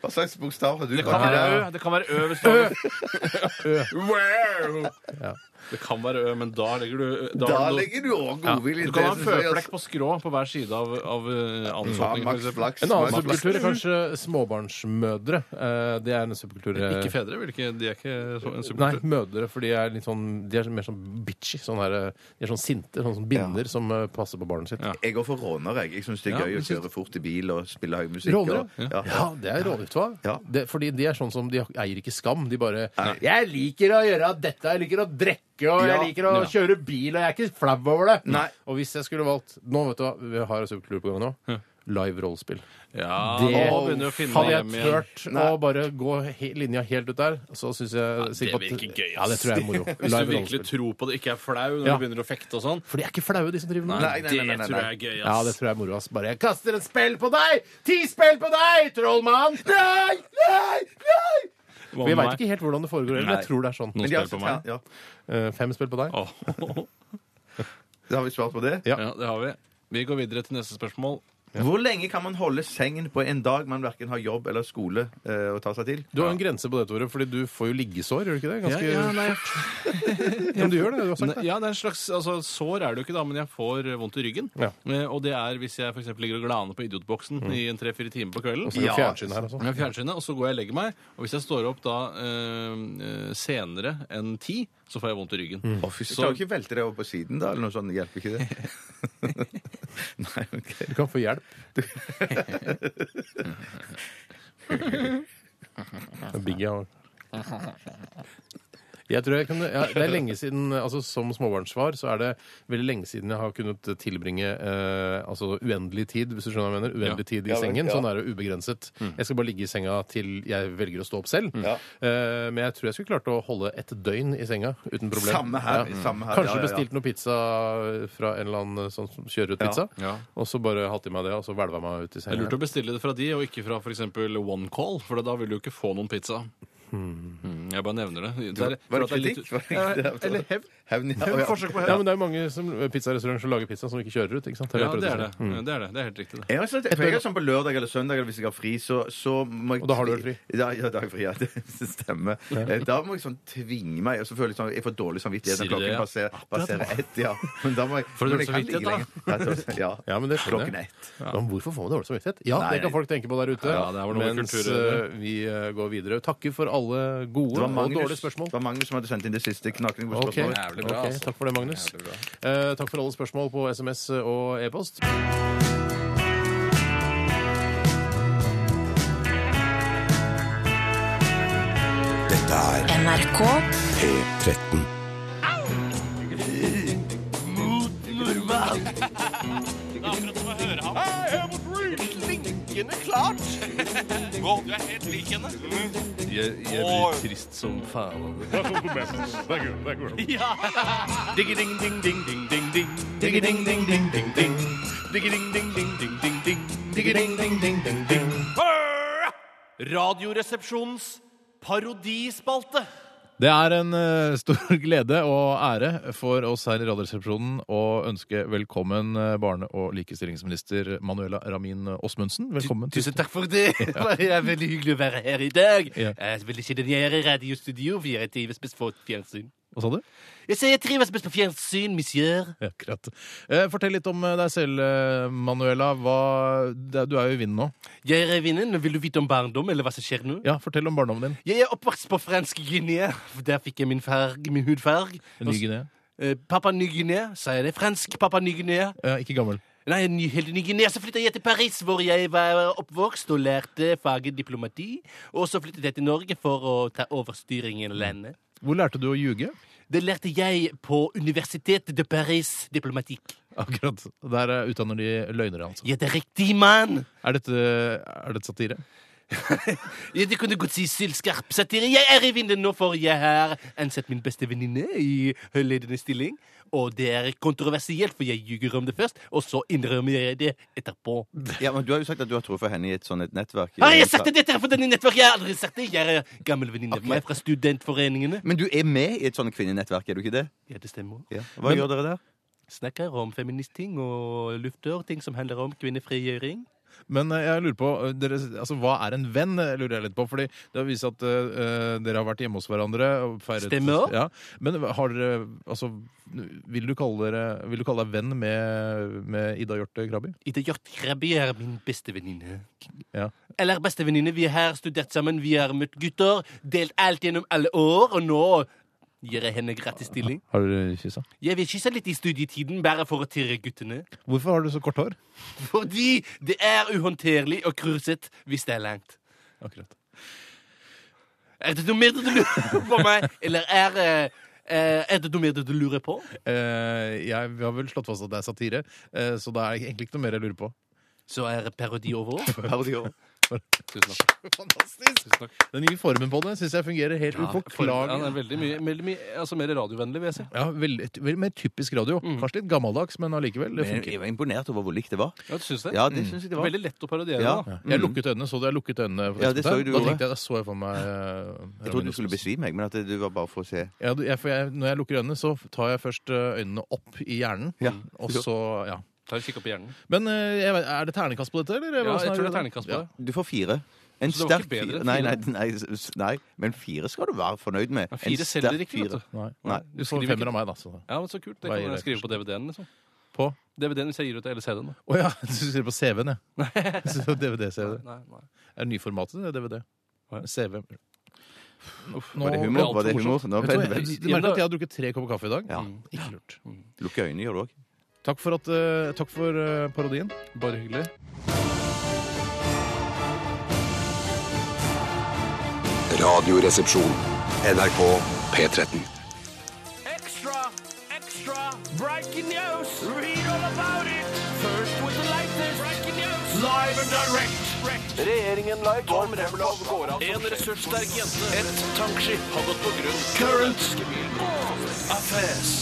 Hva slags bokstav har du?
Det kan være Ø, det kan være Ø hvis du Wow! Det kan være Ø, men da legger du eh, da
Da
har du noe-
legger du òg godvilje
Du
i
kan ha en
det, synes jeg, altså.
føflekk på skrå på hver side av, av eh,
Ja,
anusåpningen. for
Max
eksempel.
Flaks.
En annen
Max Flaks.
subkultur er kanskje småbarnsmødre. Eh, det er en subkultur eh,
Ikke fedre, vil ikke, de er ikke så, en
Nei,
superkultur.
mødre, for de er litt sånn De er mer sånn bitchy. Sånn her, eh, de er sånn sinte, sånn som binder som eh, passer på barnet sitt.
Ja.
Jeg går for råner, jeg. Jeg syns det er
Ja, men
gøy å
syns-
kjøre fort i bil og spille høy musikk.
Rånere?
og-
Ja. det er rånere, vet du hva?
Ja.
Det, fordi de er sånn som de eier ikke skam. De bare 'Jeg liker å gjøre dette, jeg liker å drikke, og jeg
Ja.
liker å kjøre bil, og jeg er ikke flau over det'.
Nei.
Og hvis jeg skulle valgt Nå, vet du hva, vi har en superklubb på gang nå. Live rollespill.
Ja,
Det
nå begynner vi å finne
hadde jeg
hjem igjen.
tørt å bare gå he linja helt ut der, så syns jeg sikkert at-
virker gøy, ass.
Ja, det tror jeg er moro.
Hvis
Live
du virkelig
rollespill.
tror på det, ikke er flau når
Ja.
du begynner å fekte og sånn.
For de er ikke flaue, de som driver med det.
Nei, nei, nei, nei, nei.
Det tror jeg er gøy, ass.
Ja, det tror jeg er moro. ass. Bare 'jeg kaster en spill på deg! Ti spill på deg, trollmann!' Nei! Nei! Nei!
Hva
Vi
med
veit
meg?
ikke helt hvordan det foregår, men jeg
Nei.
tror det er sånn.
Noen
Men de har
spiller på
altså-
meg.
Ja,
Eh, Fem spill på deg.
Åh.
da har vi svart på det.
Ja.
Ja, det har vi. Vi går videre til neste spørsmål.
Hvor lenge kan man holde sengen på en dag man verken har jobb eller skole eh, å ta seg til?
Du har en grense på det, Tore, fordi du får jo liggesår, gjør du ikke det? Ganske...
Ja,
Ja,
ja, nei,
Men du gjør det, du har sagt det.
ja, det er en slags altså, Sår er det jo ikke, da, men jeg får eh, vondt i ryggen.
Ja. Mm.
Eh, Og det er hvis jeg for eksempel ligger og glaner på Idiotboksen i en tre-fire timer på kvelden.
Og så er det fjernsyn her, altså.
Jeg har fjernsynet, og så går jeg og legger meg. Og hvis jeg står opp da eh, eh, senere enn ti, så får jeg vondt i ryggen.
Mm.
Du
Så,
kan jo ikke velte deg over på siden, da, eller noe sånt. Hjelper ikke det? Nei, OK.
Du kan få hjelp. Det er Biggie har jeg tror jeg kunne, ja, det er lenge siden, altså Som småbarnsfar så er det veldig lenge siden jeg har kunnet tilbringe eh, altså uendelig tid hvis du skjønner hva jeg mener, uendelig tid i sengen. Sånn er det ubegrenset.
Mm.
Jeg skal bare ligge i senga til jeg velger å stå opp selv. Eh, men jeg tror jeg skulle klart å holde et døgn i senga uten problem.
Samme her, samme her,
Kanskje
ja, ja, ja.
bestilt noe pizza fra en eller annen sånn som kjører ut pizza,
Ja.
og så bare hatt i meg det, og så hvelva meg ut i
det er lurt
senga.
å bestille det fra de, og ikke fra f.eks. OneCall, for da vil du ikke få noen pizza. Mm, jeg bare nevner det. det er,
Var
for
det
at er
kritikk? Var det-
litt- Eh, Eller hevn.
Hevn, ja.
Hevn,
Å, ja.
Forsøk på
Ja,
hevn.
men det er jo mange som- eh, pizzarestauranter som lager pizza som ikke kjører ut. ikke sant?
Ja,
Har jeg prøvd
det
å
er
si.
det. Det er det. Det er helt riktig. det.
Jeg har sånn, for jeg er sånn på lørdag eller søndag eller hvis jeg har fri, så, så må jeg
Og da har du vel fri?
Ja, ja, da har jeg fri, ja. Det stemmer. Eh, Da må jeg sånn tvinge meg. Og så føler jeg sånn, jeg får dårlig samvittighet
Sier du
når
det,
klokken
ja?
passerer, passerer ett. Ja. Men da må jeg
Får du
men
dårlig
jeg
samvittighet,
kan ligge lenger. Ja, jeg tror-
Ja, men det skjønner
Klokken
jeg.
ett.
Ja. Men hvorfor får man dårlig samvittighet? Ja,
Nei,
det kan
nei.
folk tenke på der ute.
Ja, det er vel noe med
mens
kulturer,
eh, vi eh, går videre. Takker for alle gode
Det var
og dårlige
Magnus,
spørsmål.
det var Magnus som hadde sendt inn det siste knakende gode
Ok,
spørsmålet.
Jævlig bra,
ok,
altså.
Takk for det, Magnus.
Jævlig bra.
Eh, takk for alle spørsmål på SMS og e-post.
Dette er
NRK
P13.
Mm.
Jeg, jeg blir trist som faen av det.
Radioresepsjonens parodispalte.
Det er en eh, stor glede og ære for oss her i Radioresepsjonen å ønske velkommen eh, barne- og likestillingsminister Manuela Ramin Osmundsen. Velkommen.
Tusen takk for det. Det er veldig hyggelig å være her i dag.
Ja.
Jeg vil ikke denne radiostudio, for jeg trives best på fjernsyn.
Hva sa du?
Jeg sier jeg trives best på fjernsyn, monsieur.
Ja, Akkurat. Eh, Fortell litt om eh, deg selv, eh, Manuela. Hva, det- du er jo i vinden nå.
Jeg er vinneren. Vil du vite om barndom, eller hva som skjer nå?
Ja, Fortell om barndommen din.
Jeg er oppvokst på fransk Guinea. for Der fikk jeg min, farg, min hudfarg.
Ny Guinea.
Eh, Pappa Ny-Guinea, sa jeg det. Fransk Pappa Ny-Guinea.
Eh, Ikke gammel.
Nei, ny, helt ny Guinea. Så flyttet jeg til Paris, hvor jeg var oppvokst og lærte faget diplomati. Og så flyttet jeg til Norge for å ta over styringen av landet.
Hvor lærte du å ljuge?
Det lærte jeg på Universitetet de Paris diplomatikk.
Akkurat. Der eh, utdanner de løgnere, altså.
Ja, det er riktig, mann!
Er dette, er dette satire?
Ja, det kunne godt si sylskarp satire. Jeg er i vinden nå, for jeg har ansatt min beste venninne i ledende stilling. Og det er kontroversielt, for jeg ljuger om det først, og så innrømmer jeg det etterpå.
Ja, men Du har jo sagt at du har truffet henne i et sånt et nettverk.
Har jeg sagt det dette her for denne nettverket? Jeg har aldri sagt det. Jeg er gammel venninne av meg fra studentforeningene.
Men du er med i et sånt kvinnenettverk, er du ikke det?
Ja, det stemmer.
Ja. Hva gjør dere der?
Snakker om feministting og lufter, ting som handler om kvinnefrigjøring.
Men eh, jeg lurer på, eh, dere, altså, hva er en venn, eh, lurer jeg litt på. Fordi det har vist seg at eh, dere har vært hjemme hos hverandre. og Feiret,
Stemmer.
Ja. Men har dere, altså, vil du kalle, dere, vil du kalle deg venn med, med Ida Hjorte Krabby?
Ida Hjort Krabbe er min beste venninne.
Ja.
Eller bestevenninne. Vi har studert sammen, vi har møtt gutter, delt alt gjennom alle år, og nå gir jeg henne gratis stilling.
Har dere kyssa?
Jeg vil kysse litt i studietiden, bare for å tirre guttene.
Hvorfor har du så kort hår?
Fordi det er uhåndterlig og krusete hvis det er langt.
Akkurat.
Er det noe mer du lurer på meg? Eller er, eh, eh, er det noe mer du lurer på?
Eh, jeg, vi har vel slått fast at det er satire, eh, så det er egentlig ikke noe mer jeg lurer på.
Så er parodi over.
Tusen takk.
Fantastisk! Den nye formen på det syns jeg fungerer helt
Ja, den
uforklagelig.
er veldig mye, veldig mye altså, mer radiovennlig, vil jeg si.
Ja, veldig, veldig mer typisk radio. Kanskje litt gammeldags, men allikevel. Det
Men
funker.
Jeg var imponert over hvor likt det var.
Ja, du syns det?
Ja, det syns jeg det var.
Veldig lett å parodiere.
Ja. Mm.
da.
Jeg lukket øynene, så du jeg lukket øynene? på
Ja, det så
tidspunktet? da
du gjorde.
tenkte jeg, da så jeg for meg eh,
Jeg trodde du
Ramin
skulle
Osnes.
besvime meg, men at det- du var bare for å se.
ja, du- jeg, for jeg, Når jeg lukker øynene, så tar jeg først eh, øynene opp i hjernen.
Ja.
Og så, ja.
Ta en kikk opp i hjernen.
Men eh, jeg, vet- er det ternekast på dette, eller?
Ja,
Hvordan
jeg tror det er
det?
terningkast på
Ja.
det.
Du får fire. En
Så det var ikke
sterk
bedre
fire.
enn
Nei,
fire?
nei, nei, s- nei, men fire skal du være fornøyd med.
Ja,
En
fire
sterk
selger ikke,
fire.
vet du.
Nei.
Nei.
Du
Du får
skriver
en femmer
ikke
av meg, da. Så.
Ja, men Så kult. Det
Hva
kan
gir
jeg
det
skrive på DVD-en. liksom
På?
DVD-en hvis jeg gir ut det, eller CD-en. da.
Å ja, du skriver på CV-en, ja. Så DVD-CV.
Nei, nei.
Er det nyformatet, det er DVD?
Hva?
CV. Nå,
Var det
ble
humor?
alt
Var det
for
humor?
morsomt.
Nå
Vet
ble
du hva,
det
jeg- Du merker at jeg har drukket tre kopper kaffe i dag? Mm,
Ja.
Ikke lurt.
Lukke øynene gjør du òg.
Takk for, at, eh, takk for eh, parodien.
Bare hyggelig.
Radioresepsjon. NRK P13.
Extra, extra, breaking news. Read all about it. First with the latest breaking news. Live and direct.
Regjeringen la i går frem en ressurssterk jente. Et tankskip har gått på grunn. Current affairs.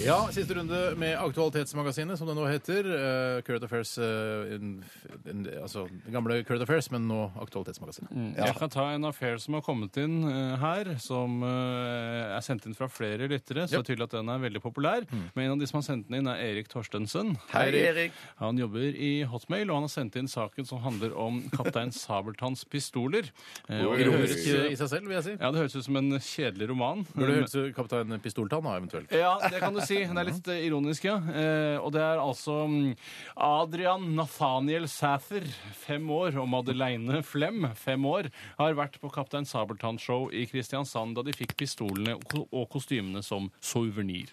Ja, siste runde med Aktualitetsmagasinet, som det nå heter. Eh, Current Affairs eh, in, in, Altså gamle Current Affairs, men nå Aktualitetsmagasinet.
Mm.
Jeg kan ta en affair som har kommet inn eh, her, som eh, er sendt inn fra flere lyttere. Så det er tydelig at den er veldig populær. Men en av de som har sendt den inn, er Erik Torstensen.
Hei, Erik.
Han jobber i Hotmail, og han har sendt inn saken som handler om kaptein Sabeltanns pistoler. Eh, og det høres,
Ironisk i seg selv, vil jeg si.
ja, det høres ut som en kjedelig roman.
Burde hørt ut Kaptein Pistoltann, da, eventuelt.
Ja, det kan du si. Det er litt eh, ironisk, ja. Eh, og det er altså mm, Adrian Nathaniel Sæther, fem år, og Madeleine Flem, fem år, har vært på Kaptein Sabeltann-show i Kristiansand da de fikk pistolene og ko- og kostymene som suvenir.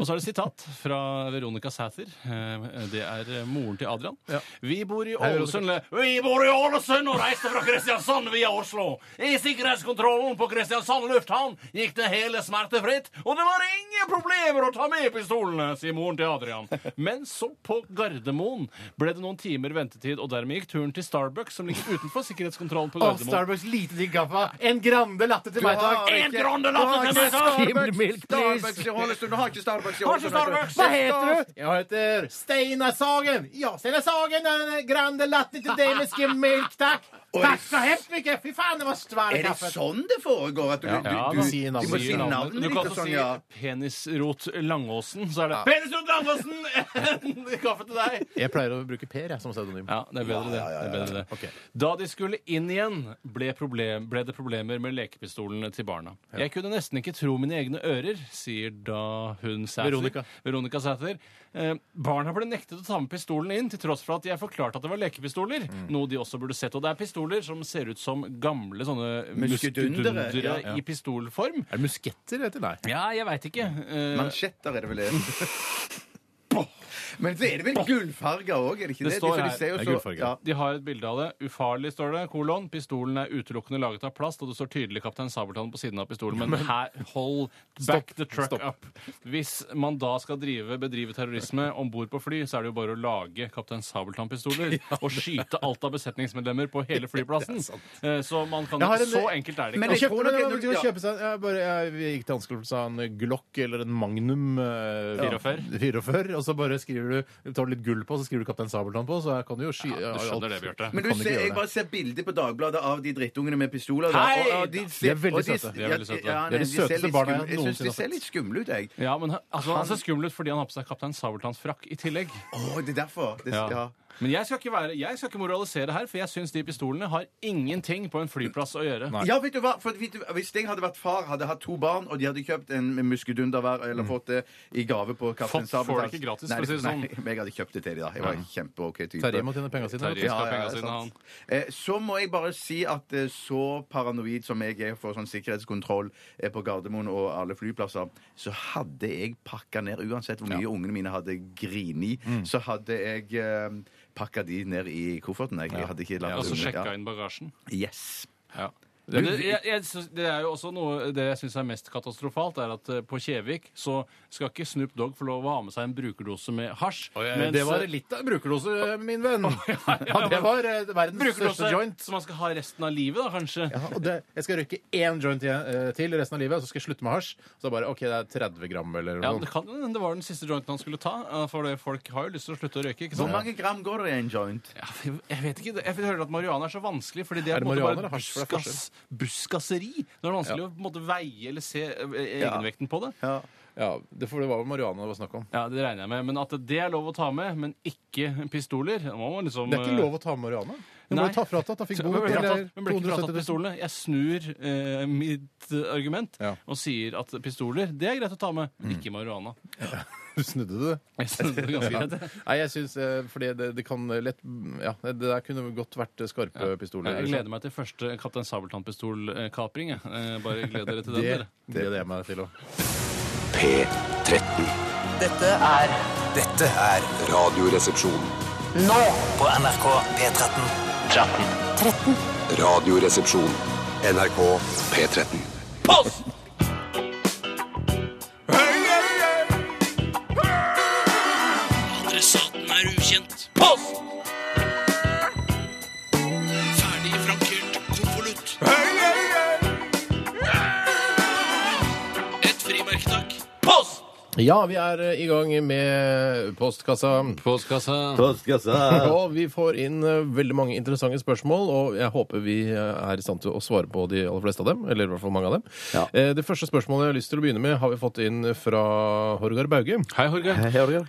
Og så er det sitat fra Veronica Sæther. Eh, Det er eh, moren til Adrian. Vi bor i Ålesund le- Vi bor i Ålesund og reiste fra Kristiansand via Oslo. I sikkerhetskontrollen på Kristiansand lufthavn gikk det hele smertefritt, og det var ingen problemer å ta med pistolene, sier moren til Adrian. Men så, på Gardermoen, ble det noen timer ventetid, og dermed gikk turen til Starbucks, som ligger utenfor sikkerhetskontrollen på Gardermoen.
lite digg kaffe. En grande latte til meg,
En grande latte til meg, takk!
Skimmed milk, please.
i Ålesund! Du har ikke Starbucks i
Kanskje Starbucks!
Hva heter du? Jeg heter Steinar Sagen. Ja, Steinar Sagen. En grande latte til deg med skimmed milk, takk. Takk så hemskt mye. Fy faen, det var svær
Er det sånn det foregår? At du, du,
Ja,
du,
da.
du,
Si navnet.
må si
Si navnet.
navnet
Du
ditt
kan
og
også
sånn,
si
ja.
penisrot Langåsen. Så er det penisrot Langåsen! Kaffe til deg.
Jeg pleier å bruke Per jeg, som pseudonym.
Ja, det er bedre det. det, er bedre det.
Ok.
Da de skulle inn igjen, ble, problem, ble det problemer med lekepistolene til barna. Jeg kunne nesten ikke tro mine egne ører, sier da hun Sæther.
Veronica.
Veronica Sæther. Eh, barna ble nektet å ta med pistolen inn, til tross for at jeg forklarte at det var lekepistoler. Noe de også burde sett. Og det er pistoler som ser ut som gamle sånne
Muskedundere,
muskedundere i pistolform.
Er det musketter? Heter? Nei.
Ja, jeg veit ikke. Eh,
Mansjetter er det vel det. Men så er det vel gullfarga òg, er det ikke det?
Det står
For de
her.
ser jo
Det er
så-
gullfarget.
Ja.
De har et bilde av det. Ufarlig, står det. Kolon. Pistolen er utelukkende laget av plast, og det står tydelig Kaptein Sabeltann på siden av pistolen. Men her, hold back
Stopp,
the truck
stopp.
up. Hvis man da skal drive, bedrive terrorisme om bord på fly, så er det jo bare å lage Kaptein Sabeltann-pistoler og skyte alt av besetningsmedlemmer på hele flyplassen. Eh, Så man kan
Jeg har en-
Så enkelt er det
Men
Men
ikke.
jeg
jeg
tror
kjøpte
nok
men,
en-
men, men, kjøpe seg, jeg bare, jeg gikk til anskaffelse av en Glock eller en Magnum eh,
44.
44, og så bare skriver du tar du litt gull på, så skriver du Kaptein Sabeltann på, så her kan du jo sky...
Du
alt.
skjønner det, Bjarte.
Men du
Kan ikke
ser,
gjøre
jeg
det.
bare ser bilder på Dagbladet av de drittungene med pistoler. da,
Hei!
og- og
De
er veldig
og
søte.
De er
ja,
veldig søte.
ja,
De er
nei,
de
ser
søteste
litt
barna jeg
skumle- Jeg syns
noensinne
de
har
ser
sett.
litt skumle ut, jeg.
Ja, men han- altså, han ser skummel ut fordi han har på seg Kaptein Sabeltanns frakk i tillegg.
Å, det er derfor. Det, ja.
Men jeg skal, ikke være, jeg skal ikke moralisere her, for jeg syns de pistolene har ingenting på en flyplass å gjøre.
Ja, vet du hva? For, vet du, hvis jeg hadde vært far, hadde hatt to barn, og de hadde kjøpt en muskedunder hver, eller fått det i gave på Kaptein
Mm. Fått får
Sabeltann
det ikke gratis,
Nei,
for å si det sånn.
nei, men jeg hadde kjøpt det til de da. Jeg var en kjempe-OK type.
Terje må tjene pengene sine.
Terje. skal ha pengene
det er
sine,
sant. Eh, Så må jeg bare si at eh, så paranoid som jeg er for sånn sikkerhetskontroll eh, på Gardermoen og alle flyplasser, så hadde jeg pakka ned Uansett hvor mye ungene mine hadde grini,
Mm.
så hadde jeg eh, pakka de ned i kofferten. Jeg hadde ikke latt
Og så
ungene-
sjekka
ja.
Altså inn bagasjen.
Yes.
Men det, jeg, jeg, synes- det er jo også noe Det jeg syns er mest katastrofalt, er at eh, på Kjevik så skal ikke Snoop Dogg få lov å ha med seg en brukerdose med hasj. mens-
det var litt av en brukerdose, min venn. ja, det var eh, verdens
brukerdose
største joint.
som han skal ha resten av livet, da, kanskje.
Ja, og det, jeg skal røyke én joint igjen, eh, til resten av livet, og så skal jeg slutte med hasj. Så bare OK, det er 30 gram eller noe
Ja, men det,
sånt.
kan, det var den siste jointen han skulle ta. eh, For det, folk har jo lyst til å slutte å røyke. ikke
Hvor
sant?
mange gram går det i en joint?
Ja, Jeg vet ikke, jeg hører at marihuana er så vanskelig, fordi det er,
Er det
på en
marihuana
måte
eller
bare
hasj? For det er
buskas, buskasseri. Når det er vanskelig å på en måte veie eller se eh, egenvekten på det.
Ja.
Ja, det, for det var vel marihuana det var snakk om.
Ja, det regner jeg med. Men at det er lov å ta med, men ikke pistoler det må man liksom,
Det er ikke lov å ta med marihuana. Du må
Nei.
jo ta fratatt. Da fikk
men
bot
ble ikke
eller
fratatt- men ble ikke
270
fratatt
000.
pistolene. Jeg snur eh, mitt eh, argument
Ja. Mm.
og sier at pistoler det er greit å ta med, men ikke marihuana.
Du snudde det.
Jeg synes det er ganske greit. det.
Nei, jeg syns Fordi det, det kan lett Ja, det der kunne godt vært skarpe pistoler. liksom.
Jeg gleder meg til første Kaptein Sabeltann-pistolkapring. jeg. Eh, Bare gled dere til
Det
den. dere.
gleder jeg meg til òg.
P13.
Dette er
Dette er
Radioresepsjon.
nå på NRK P13. 13.
Radioresepsjon. NRK P13.
Post! Adressaten er ukjent. Post! Ferdig frankert konvolutt. Et frimerke, takk. Post!
Ja, vi er eh, i gang med postkassa. Og vi får inn eh, veldig mange interessante spørsmål, og jeg håper vi eh, er i stand til å svare på de aller fleste av dem. Eller i hvert fall mange av dem. Eh, Det første spørsmålet jeg har lyst til å begynne med, har vi fått inn fra Horgar Bauge.
Hei, Horge.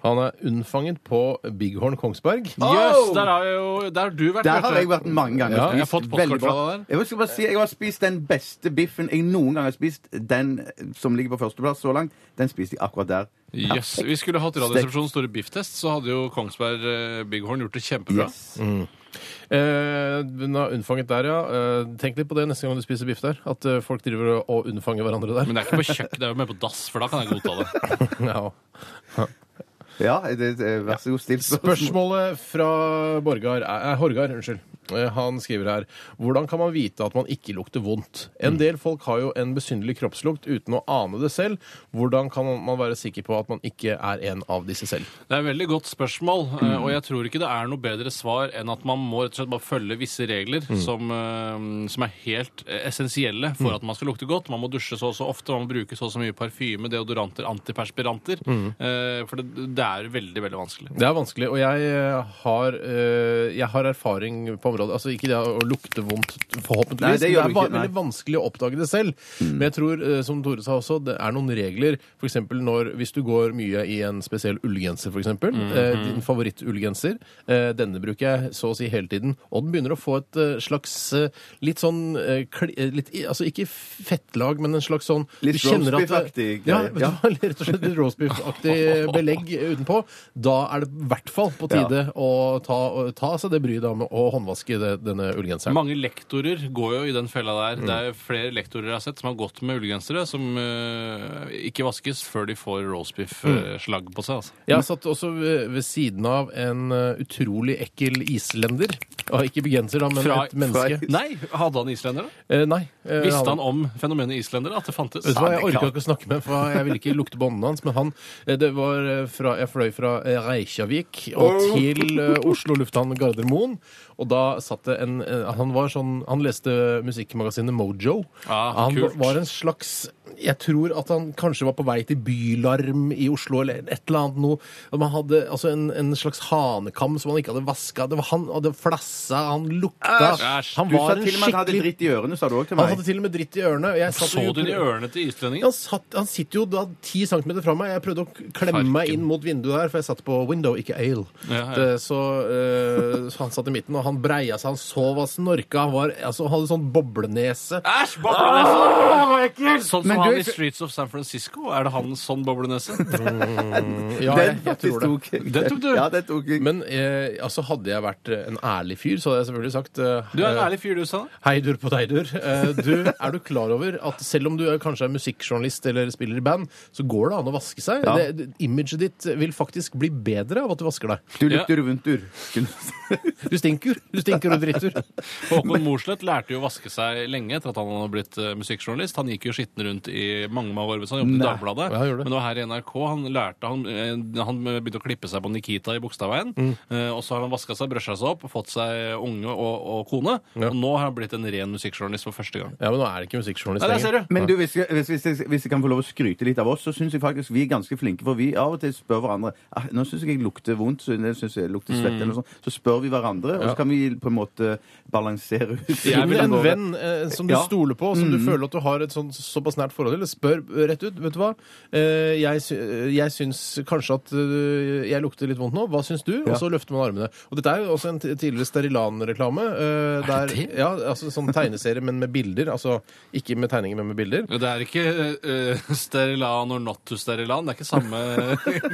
Han er unnfanget på Bighorn Kongsberg.
Jøss, der har jo Der har du vært.
Oh! Der har
Bjarte.
jeg vært mange ganger.
Ja,
Spist
jeg har fått postkort
veldig bra.
fra deg
Jeg skal bare si, jeg har spist den beste biffen jeg noen gang har spist. Den som ligger på førsteplass så langt, den spiste jeg akkurat der.
Yes. Vi skulle hatt Radioresepsjonens store bifftest, så hadde jo Kongsberg eh, Bighorn gjort det kjempebra.
Yes.
Eh, hun er unnfanget der, ja. Eh, tenk litt på det neste gang du spiser biff der. At eh, folk driver og- og unnfanger hverandre der.
Men det er ikke på kjøkkenet, det er jo mer på dass, for da kan jeg godta det.
ja.
Ja, det, det- vær så god, still spørsmål.
Spørsmålet fra Borgar er, eh, Horgar, unnskyld. Eh, Han skriver her Hvordan kan man vite at man ikke lukter vondt? En del folk har jo en besynderlig kroppslukt uten å ane det selv. Hvordan kan man være sikker på at man ikke er en av disse selv?
Det er et veldig godt spørsmål, eh, og jeg tror ikke det er noe bedre svar enn at man må rett og slett bare følge visse regler
Mm.
som, eh, som er helt eh, essensielle for at man skal lukte godt. Man må dusje så og så ofte, man må bruke så og så mye parfyme, deodoranter, antiperspiranter.
Mm.
eh, For det, det er veldig, veldig vanskelig.
Det er vanskelig, og jeg eh, har, eh, jeg har erfaring på området. Altså ikke det å lukte vondt, forhåpentligvis.
Nei, det gjør
men det er
du ikke,
va-
nei. Mm.
veldig vanskelig å oppdage det selv. Men jeg tror, eh, som Tore sa også, det er noen regler. For eksempel når, hvis du går mye i en spesiell ullgenser, for eksempel.
Mm.
eh,
Mm-hmm.
Din favorittullgenser. eh, Denne bruker jeg så å si hele tiden. Og den begynner å få et eh, slags eh, litt sånn eh, kli, eh, litt, i- Altså ikke fettlag, men en slags sånn
Litt
du kjenner at
roastbeef-aktig
det-
greie.
Ja, vet du
Ja.
hva, rett og slett litt roastbeef-aktig belegg utenpå, da er det i hvert fall på tide å ta, å ta seg det bryet da med å håndvaske fantastisk, det, denne ullgenseren.
Mange lektorer går jo i den fella der. Det er flere lektorer jeg har sett som har gått med ullgensere som eh, ikke vaskes før de får roastbiff-slagg på seg. altså.
Jeg satt også ved, ved siden av en eh, utrolig ekkel islender. Ja, ikke begenser, da, men
Fra-
et menneske.
Nei, hadde han islender, da?
Eh, nei. eh,
Visste han om fenomenet islendere? At det fantes?
Vet du hva,
Ja,
Jeg
det
orka
kan-
ikke å snakke med ham, for jeg ville ikke lukte båndene hans. Men han eh, det var eh, fra, Jeg fløy fra eh, Reykjavik og til eh, Oslo lufthavn Gardermoen. Og da satt det en eh, Han var sånn Han leste musikkmagasinet Mojo.
Ah,
han
kult.
var en slags Jeg tror at han kanskje var på vei til Bylarm i Oslo, eller et eller annet noe. Og Man hadde altså en, en slags hanekam som han ikke hadde vaska. Det var han hadde flassa, han lukta
Æsj.
Han
Du sa
var en
til og med at han hadde
skikkelig
dritt i ørene, sa du òg til
han
meg.
hadde til og med dritt i ørene. og Jeg satt
Så
og-
du den i ørene til islendingen?
han, satt, han sitter jo da ti centimeter fra meg. Jeg prøvde å k- klemme meg inn mot vinduet der, for jeg satt på window, ikke ale.
Ja, ja.
Det- Så, eh, så han satt i midten, og han breia seg, han sov og snorka. Han var, altså, han hadde sånn boblenese.
Æsj! Boblenese! Sånn som
Men du-
han i Streets of San Francisco? Er det han sånn boblenese?
Ja,
Den
jeg, jeg tror
faktisk
det.
tok jeg.
Den tok du.
Ja, den tok jeg.
Men eh, altså, hadde jeg vært eh, en ærlig fyr, så hadde jeg selvfølgelig sagt eh,
Du er en ærlig fyr, du, sa
Heidur på Deidur. Eh, Du, er du klar over at selv om du er, kanskje er musikkjournalist eller spiller i band, så går det an å vaske seg?
Ja.
Det, det- imaget ditt vil faktisk bli bedre av at du vasker deg.
Du
Ja.
lukter vuntur.
Du stinker. Du stinker og driter.
Håkon Mosleth lærte jo å vaske seg lenge etter at han hadde blitt eh, musikkjournalist. Han gikk jo skitten rundt i mange mange år hvis han jobbet i Dagbladet.
Ja, han gjorde det.
men det var her i NRK han lærte han, eh, han begynte å klippe seg på Nikita i Bogstadveien.
Mm.
Eh, Og så har han vaska seg, brusha seg opp, fått seg unge og, og kone.
Ja.
Og nå har han blitt en ren musikkjournalist for første gang.
Ja, men nå er det ikke musikkjournalist
Nei, der ser du!
Men du, hvis, jeg- hvis, hvis, jeg- hvis jeg kan få lov å skryte litt av oss, så syns jeg faktisk vi er ganske flinke. For vi av og til spør hverandre ah, Nå syns jeg jeg lukter vondt, så jeg synes jeg lukter svett eller noe sånt. Så spør vi hverandre, og så kan vi på en måte balansere ut
Jeg vil en
våre.
venn eh, som du
Ja.
stoler på, som du føler at du har et sånn, såpass nært forhold til, spør rett ut. Vet du hva? Eh, jeg, sy jeg syns kanskje at eh, jeg lukter litt vondt nå. Hva syns du? Og så løfter man armene. Og dette er jo også en t- tidligere Sterilan-reklame. eh, der- Ja, altså sånn tegneserie, men med bilder. Altså ikke med tegninger, men med bilder.
Det er ikke eh, Sterilan or not to Sterilan. Det er ikke samme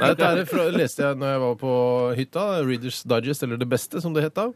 Nei, dette er fra, leste jeg når jeg var på hytta. Readers Digest, eller Det Beste, som det het da.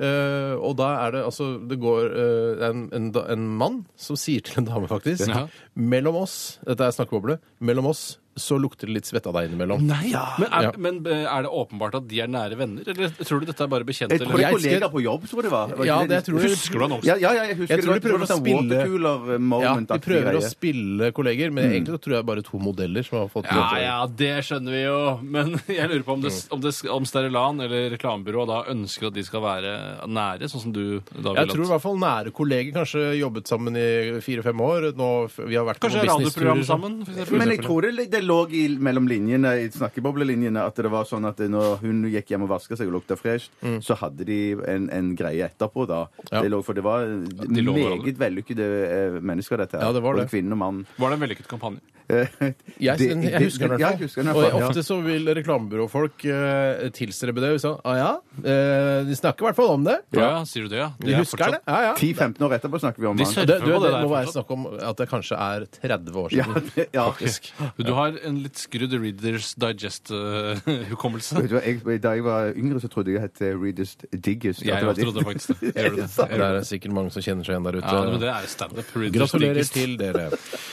Eh, og da er det altså Det går eh, det er en, en, da- en mann som sier til en dame, faktisk
Ja.
Mellom oss Dette er snakkeboble. Mellom oss så lukter det litt svette av deg innimellom.
Nei, men, er,
Ja.
men eh, er det åpenbart at de er nære venner, eller tror du dette er bare bekjente?
Jeg
Eller?
tror det er
Jeg
kollegaer
husker-
på jobb, tror jeg det var. Var
Ja,
ikke
det tror jeg.
Husker du annonsen?
Ja, ja, ja, jeg husker
Jeg tror
det.
de prøver
var
å
sånn
spille-
watercooler
Ja,
moment
de prøver å spille kolleger, men egentlig så tror jeg bare to modeller som har fått
Ja, ja, det skjønner vi jo, men jeg lurer på om, det, om, det, om Sterilan eller reklamebyrået da ønsker at de skal være nære, sånn som du da
Jeg
vil
tror i
at
hvert fall nære kolleger kanskje jobbet sammen i fire-fem år. Nå, vi har vært på
Kanskje
noen businessturer sånn.
radioprogram
sammen.
sammen? For eksempel?
Men jeg tror det, det lå i, mellom linjene i snakkeboblelinjene at det var sånn at når hun gikk hjem og vaska seg og lukta fresh, så hadde de en, en greie etterpå da.
Mm. Ja.
Det lå, for det var
de lå hverandre.
meget vellykkede eh, mennesker, dette her.
Ja, det var
Både
det.
kvinne og mann.
Var det en vellykket kampanje?
Jeg,
Det-
jeg,
det-
husker den i
ja,
hvert fall.
jeg husker den i hvert
Og
fall, ja.
ofte så vil reklamebyråfolk eh, tilstrebe det. Sånn, ah, ja, eh, de snakker i hvert fall om det.
Ja, ja, sier du det, ja?
De husker det. Ja, ja.
10-15 år etterpå snakker vi om
De
han.
ser-
Og Det, du,
Prøv på
det
det der
må være
fortsatt.
snakk om at det kanskje er 30 år
Ja,
siden.
det- ja.
Faktisk.
Du har en litt skrudd Readers eh, Digest-hukommelse.
Vet du hva, jeg, da jeg var yngre, så trodde jeg het eh, Readers Diggers. At
jeg
det var
også trodde
ditt.
faktisk det. Jeg gjorde det.
Det
Jeg gjorde
er
det.
sikkert mange som kjenner seg igjen der ute.
Ja, men det er standup. Readers
Gratulerer
Digest.
til dere.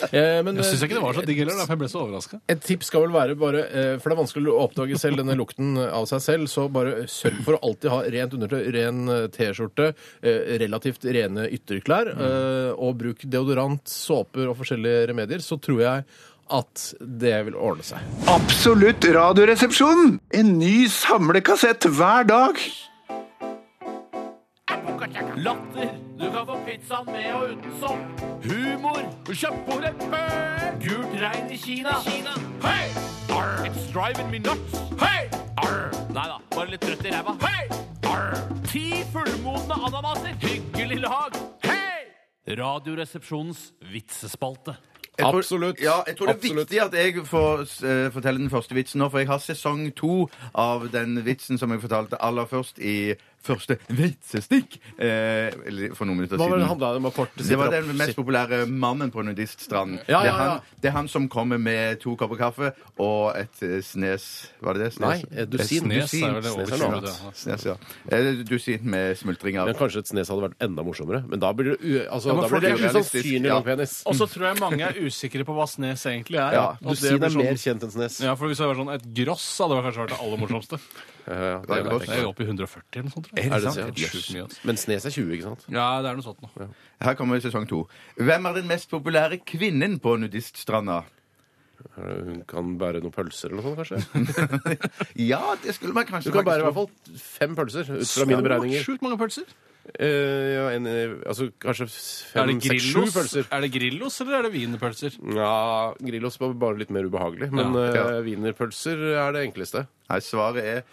Eh, men,
Jeg syns
eh,
ikke det var så digg heller, da, for jeg ble så overraska.
Et tips skal vel være bare, eh, for det er vanskelig å oppdage selv denne lukten eh, av seg selv, så bare sørg for å alltid ha rent undertøy, ren eh, T-skjorte, eh, relativt rene ytterklær, eh, og bruk deodorant, såper og forskjellige remedier, så tror jeg at det vil ordne seg.
Absolutt radioresepsjon! En ny samlekassett hver dag!
Latter. Du kan få pizzaen med og uten sopp. Humor. Kjøttbordet før. Gult regn i Kina. Hei! Arr. It's driving me nuts. Hei! Arr. Nei da, bare litt trøtt i ræva. Hei! Arr. Ti fullmodne ananaser. Hyggelig lag. Hei! Radioresepsjonens vitsespalte.
Absolutt.
Ja, jeg tror det er viktig at jeg får eh, fortelle den første vitsen nå, for jeg har sesong to av den vitsen som jeg fortalte aller først i første vitsestikk eh, eller for noen minutter
Hva var
siden.
det handla om? Å korte
Det var
sitter
den
opp,
mest
sitter-
populære mannen på nudiststranden.
Ja, ja,
Det, er
ja.
han, det er han som kommer med to kopper kaffe og et eh, snes Var det det? Snes?
Nei, eh, et dusin.
Et
Snes er vel det
Snes,
overkjøpte,
ja.
ja.
Snes, ja. Eh, Dusin med smultringer.
Men kanskje et snes hadde vært enda morsommere. Men da blir det u... Altså,
Ja, men
da
for
blir det
det er
urealistisk,
usannsynlig
ja.
lang penis.
Og så tror jeg mange er usikre på hva snes egentlig er.
Ja,
At
Du
det
sier det
blir
er
sånn-
mer kjent enn snes.
Ja, for hvis det var sånn Et gross hadde kanskje vært det aller morsomste.
Ja, ja, det
er godt.
Det er jo oppe i 140 eller noe sånt. tror jeg.
Er det
sant?
sant?
Helt sjukt mye, altså.
Men snes er 20, ikke sant?
Ja, det er noe sånt nå.
Her kommer sesong to. Hvem er den mest populære kvinnen på nudiststranda?
Hun kan bære noen pølser eller noe sånt, kanskje?
Ja, det skulle man kanskje
Du kan bære i hvert
faktisk
fall fem pølser, ut fra mine beregninger.
Sjukt mange pølser.
Eh, ja, en, eh, altså kanskje
Er det,
fem, seks, sju
grillos,
pølser.
er det grillos eller er det wienerpølser?
Ja, Grillos var bare litt mer ubehagelig. Men
Ja.
eh, wienerpølser er det enkleste.
Nei, svaret er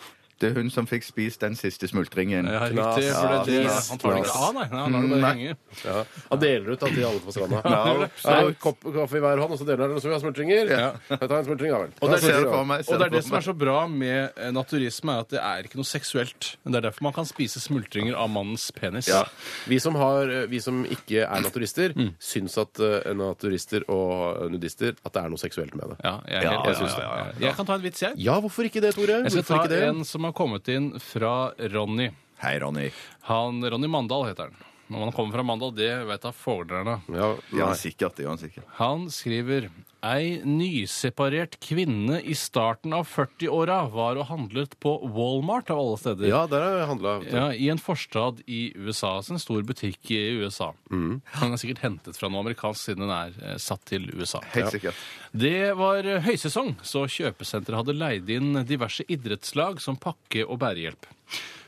det er hun som fikk spist den siste smultringen.
Ja,
Knas.
riktig, for det, det,
Knas.
han tar det ikke av, nei. Nei, Han lar det bare henge.
Ja. Han deler ut da, til alle på stranda.
Ja,
Så har han kopp kaffe i hver hånd, og så deler han, og så vil han ha smultringer. Ja. Jeg tar en smultring, da vel.
Og
Ta
der
en
ser
smultring,
du
da
for
vel.
meg.
Og det er det som er så bra med eh, naturisme, er at det er ikke noe seksuelt. Men Det er derfor man kan spise smultringer av mannens penis.
Ja. Vi, som har, eh, vi som ikke er naturister, syns at eh, naturister og nudister At det er noe seksuelt med det.
Ja, jeg, er helt- jeg syns det. Jeg kan ta en vits, jeg.
Ja, hvorfor ikke det, Tore?
Jeg skal
Hvorfor ikke
ta
det?
en som har kommet inn fra Ronny.
Hei, Ronny.
Han, Ronny Mandal heter han. Når man kommer fra Mandal, det vet jeg fordelene.
Ja,
Ja,
nei.
sikkert. Ja, sikkert.
Han skriver Ei nyseparert kvinne i starten av 40-åra var og handlet på Walmart av alle steder.
ja der har jeg handla.
Ja, I en forstad i USA. Så en stor butikk i USA.
Mm.
Han er sikkert hentet fra noe amerikansk siden den er eh, satt til USA.
Helt sikkert.
Det var eh, høysesong, så kjøpesenteret hadde leid inn diverse idrettslag som pakke- og bærehjelp.